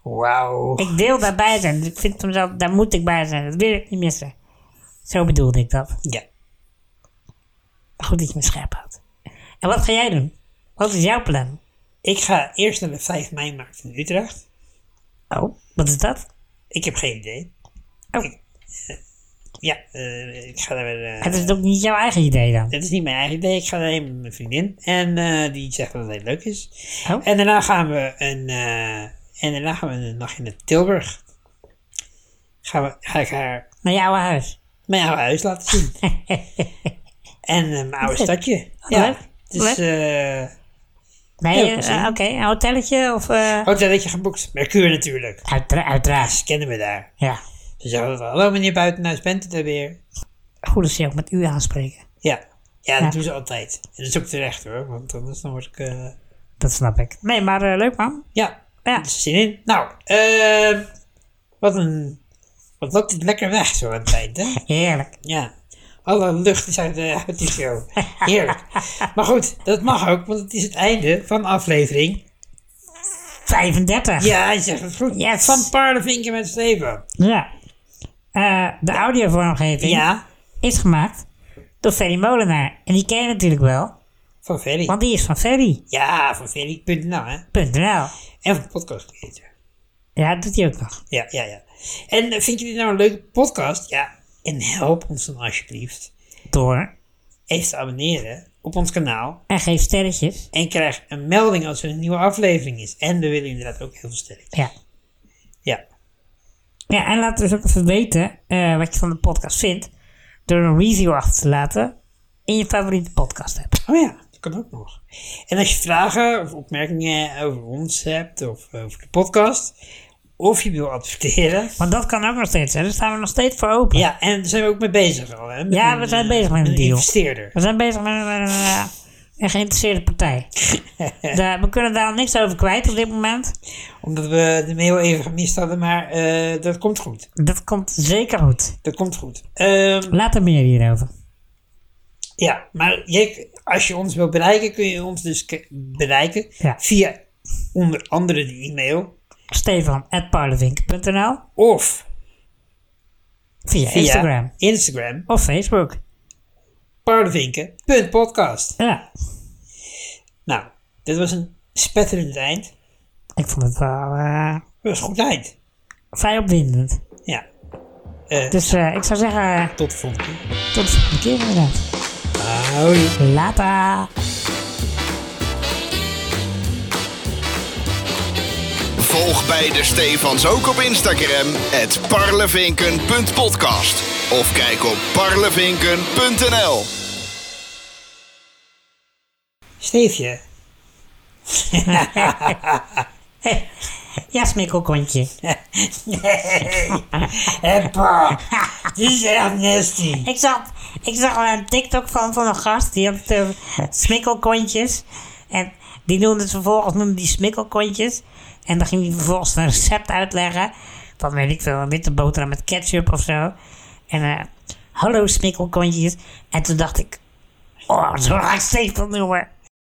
Wauw.
ik wil daarbij zijn. Dus ik vind van mezelf, daar moet ik bij zijn. Dat wil ik niet missen. Zo bedoelde ik dat.
Ja.
Maar goed dat je me scherp houdt. En wat ga jij doen? Wat is jouw plan?
Ik ga eerst naar de 5 mei-markt in Utrecht.
Oh, wat is dat?
Ik heb geen idee.
Oh.
Ik- eh, ja, eh, ik ga daar weer... eh,
Het is ook niet jouw eigen idee dan.
dat is niet mijn eigen idee. Ik ga daarheen met mijn vriendin. En eh, die zegt dat het heel leuk is.
Oh.
En daarna gaan we een... eh, en daarna gaan we een nachtje naar Tilburg. Gaan we, ga ik haar
Naar jouw huis.
mijn oude huis laten
<laughs>
zien. en eh, mijn oude stadje.
Oh, Leuk.
Ja, het is, eh,
Nee,
Ja,
eh,
precies.
oké, een hotelletje of... eh
Hotelletje geboekt. Mercure natuurlijk.
uitera- uiteraard,
Ze kennen me daar.
ja.
Ze zeggen altijd, hallo meneer Buitenhuis, bent u er weer?
Goed dat ze je ook met u aanspreken.
Ja. Ja, dat
Ja.
doen ze altijd. En dat is ook terecht hoor, want anders dan word ik... eh,
Dat snap ik. Nee, maar eh, leuk man.
Ja,
Ja.
er is zin in. Nou, eh, wat een... Wat loopt dit lekker weg zo aan het eind, hè?
Heerlijk.
Ja. Alle lucht is uit de, <laughs> uit de show. Heerlijk. Maar goed, dat mag ook, want het is het einde van de aflevering.
35.
Ja, hij zegt het goed.
Yes.
Van Paardenvinken met Steven.
Ja. Eh, de audiovormgeving
Ja,
is gemaakt door Ferry Molenaar. En die ken je natuurlijk wel,
van Ferry.
want die is van Ferry.nl.
Ja, van Ferry.nl, hè. En van Podcast Creator.
Ja, dat doet hij ook nog.
Ja, ja, ja. En eh, vind je dit nou een leuke podcast? Ja. En help ons dan alsjeblieft
Door.
even te abonneren op ons kanaal.
En geef sterretjes.
En krijg een melding als er een nieuwe aflevering is. En we willen inderdaad ook heel veel sterren.
Ja.
Ja.
Ja, en laat dus ook even weten eh, wat je van de podcast vindt. Door een review achter te laten in je favoriete podcast app.
Oh ja, dat kan ook nog. En als je vragen of opmerkingen over ons hebt of over de podcast. Of je wil adverteren.
Want dat kan ook nog steeds, hè. Daar staan we nog steeds voor open.
Ja, en daar zijn we ook mee bezig al. Hè? Met
Ja, we zijn
eh,
bezig met een deal.
investeerder.
We zijn bezig met een, met een, eh, een geïnteresseerde partij. Daar- we kunnen daar nog niks over kwijt op dit moment.
Omdat we de mail even gemist hadden, maar eh, dat komt goed.
Dat komt zeker goed.
Dat komt goed. Ehm,
Later meer hierover.
Ja, maar jij, als je ons wil bereiken, kun je ons dus ke- bereiken
Ja.
via onder andere de e-mail
Stefan.paulevink.nl
of
via,
via
Instagram
Instagram
of Facebook.
paardenvinken.podcast.
Ja,
Nou, dit was een spetterend eind.
ik vond het wel eh,
Dat was een goed eind.
vrij opwindend.
Ja. Eh,
Dus eh, ik zou zeggen, eh,
tot de volgende keer.
tot de volgende keer inderdaad.
Hoi.
Later!
Volg beide Stefans ook op Instagram, het parlevinken.podcast. Of kijk op parlevinken.nl.
Steefje.
Ja, smikkelkontje.
Heppa. Dit is echt nasty.
Ik zag, ik zag wel een TikTok van, van een gast, die had eh, smikkelkontjes. En die noemde het vervolgens, noemde die smikkelkontjes. En dan ging hij vervolgens een recept uitleggen. Van weet ik veel, een witte boterham met ketchup of zo. En eh, hallo smikkelkontjes. En toen dacht ik, oh, zo ga ik steeds dat noemen.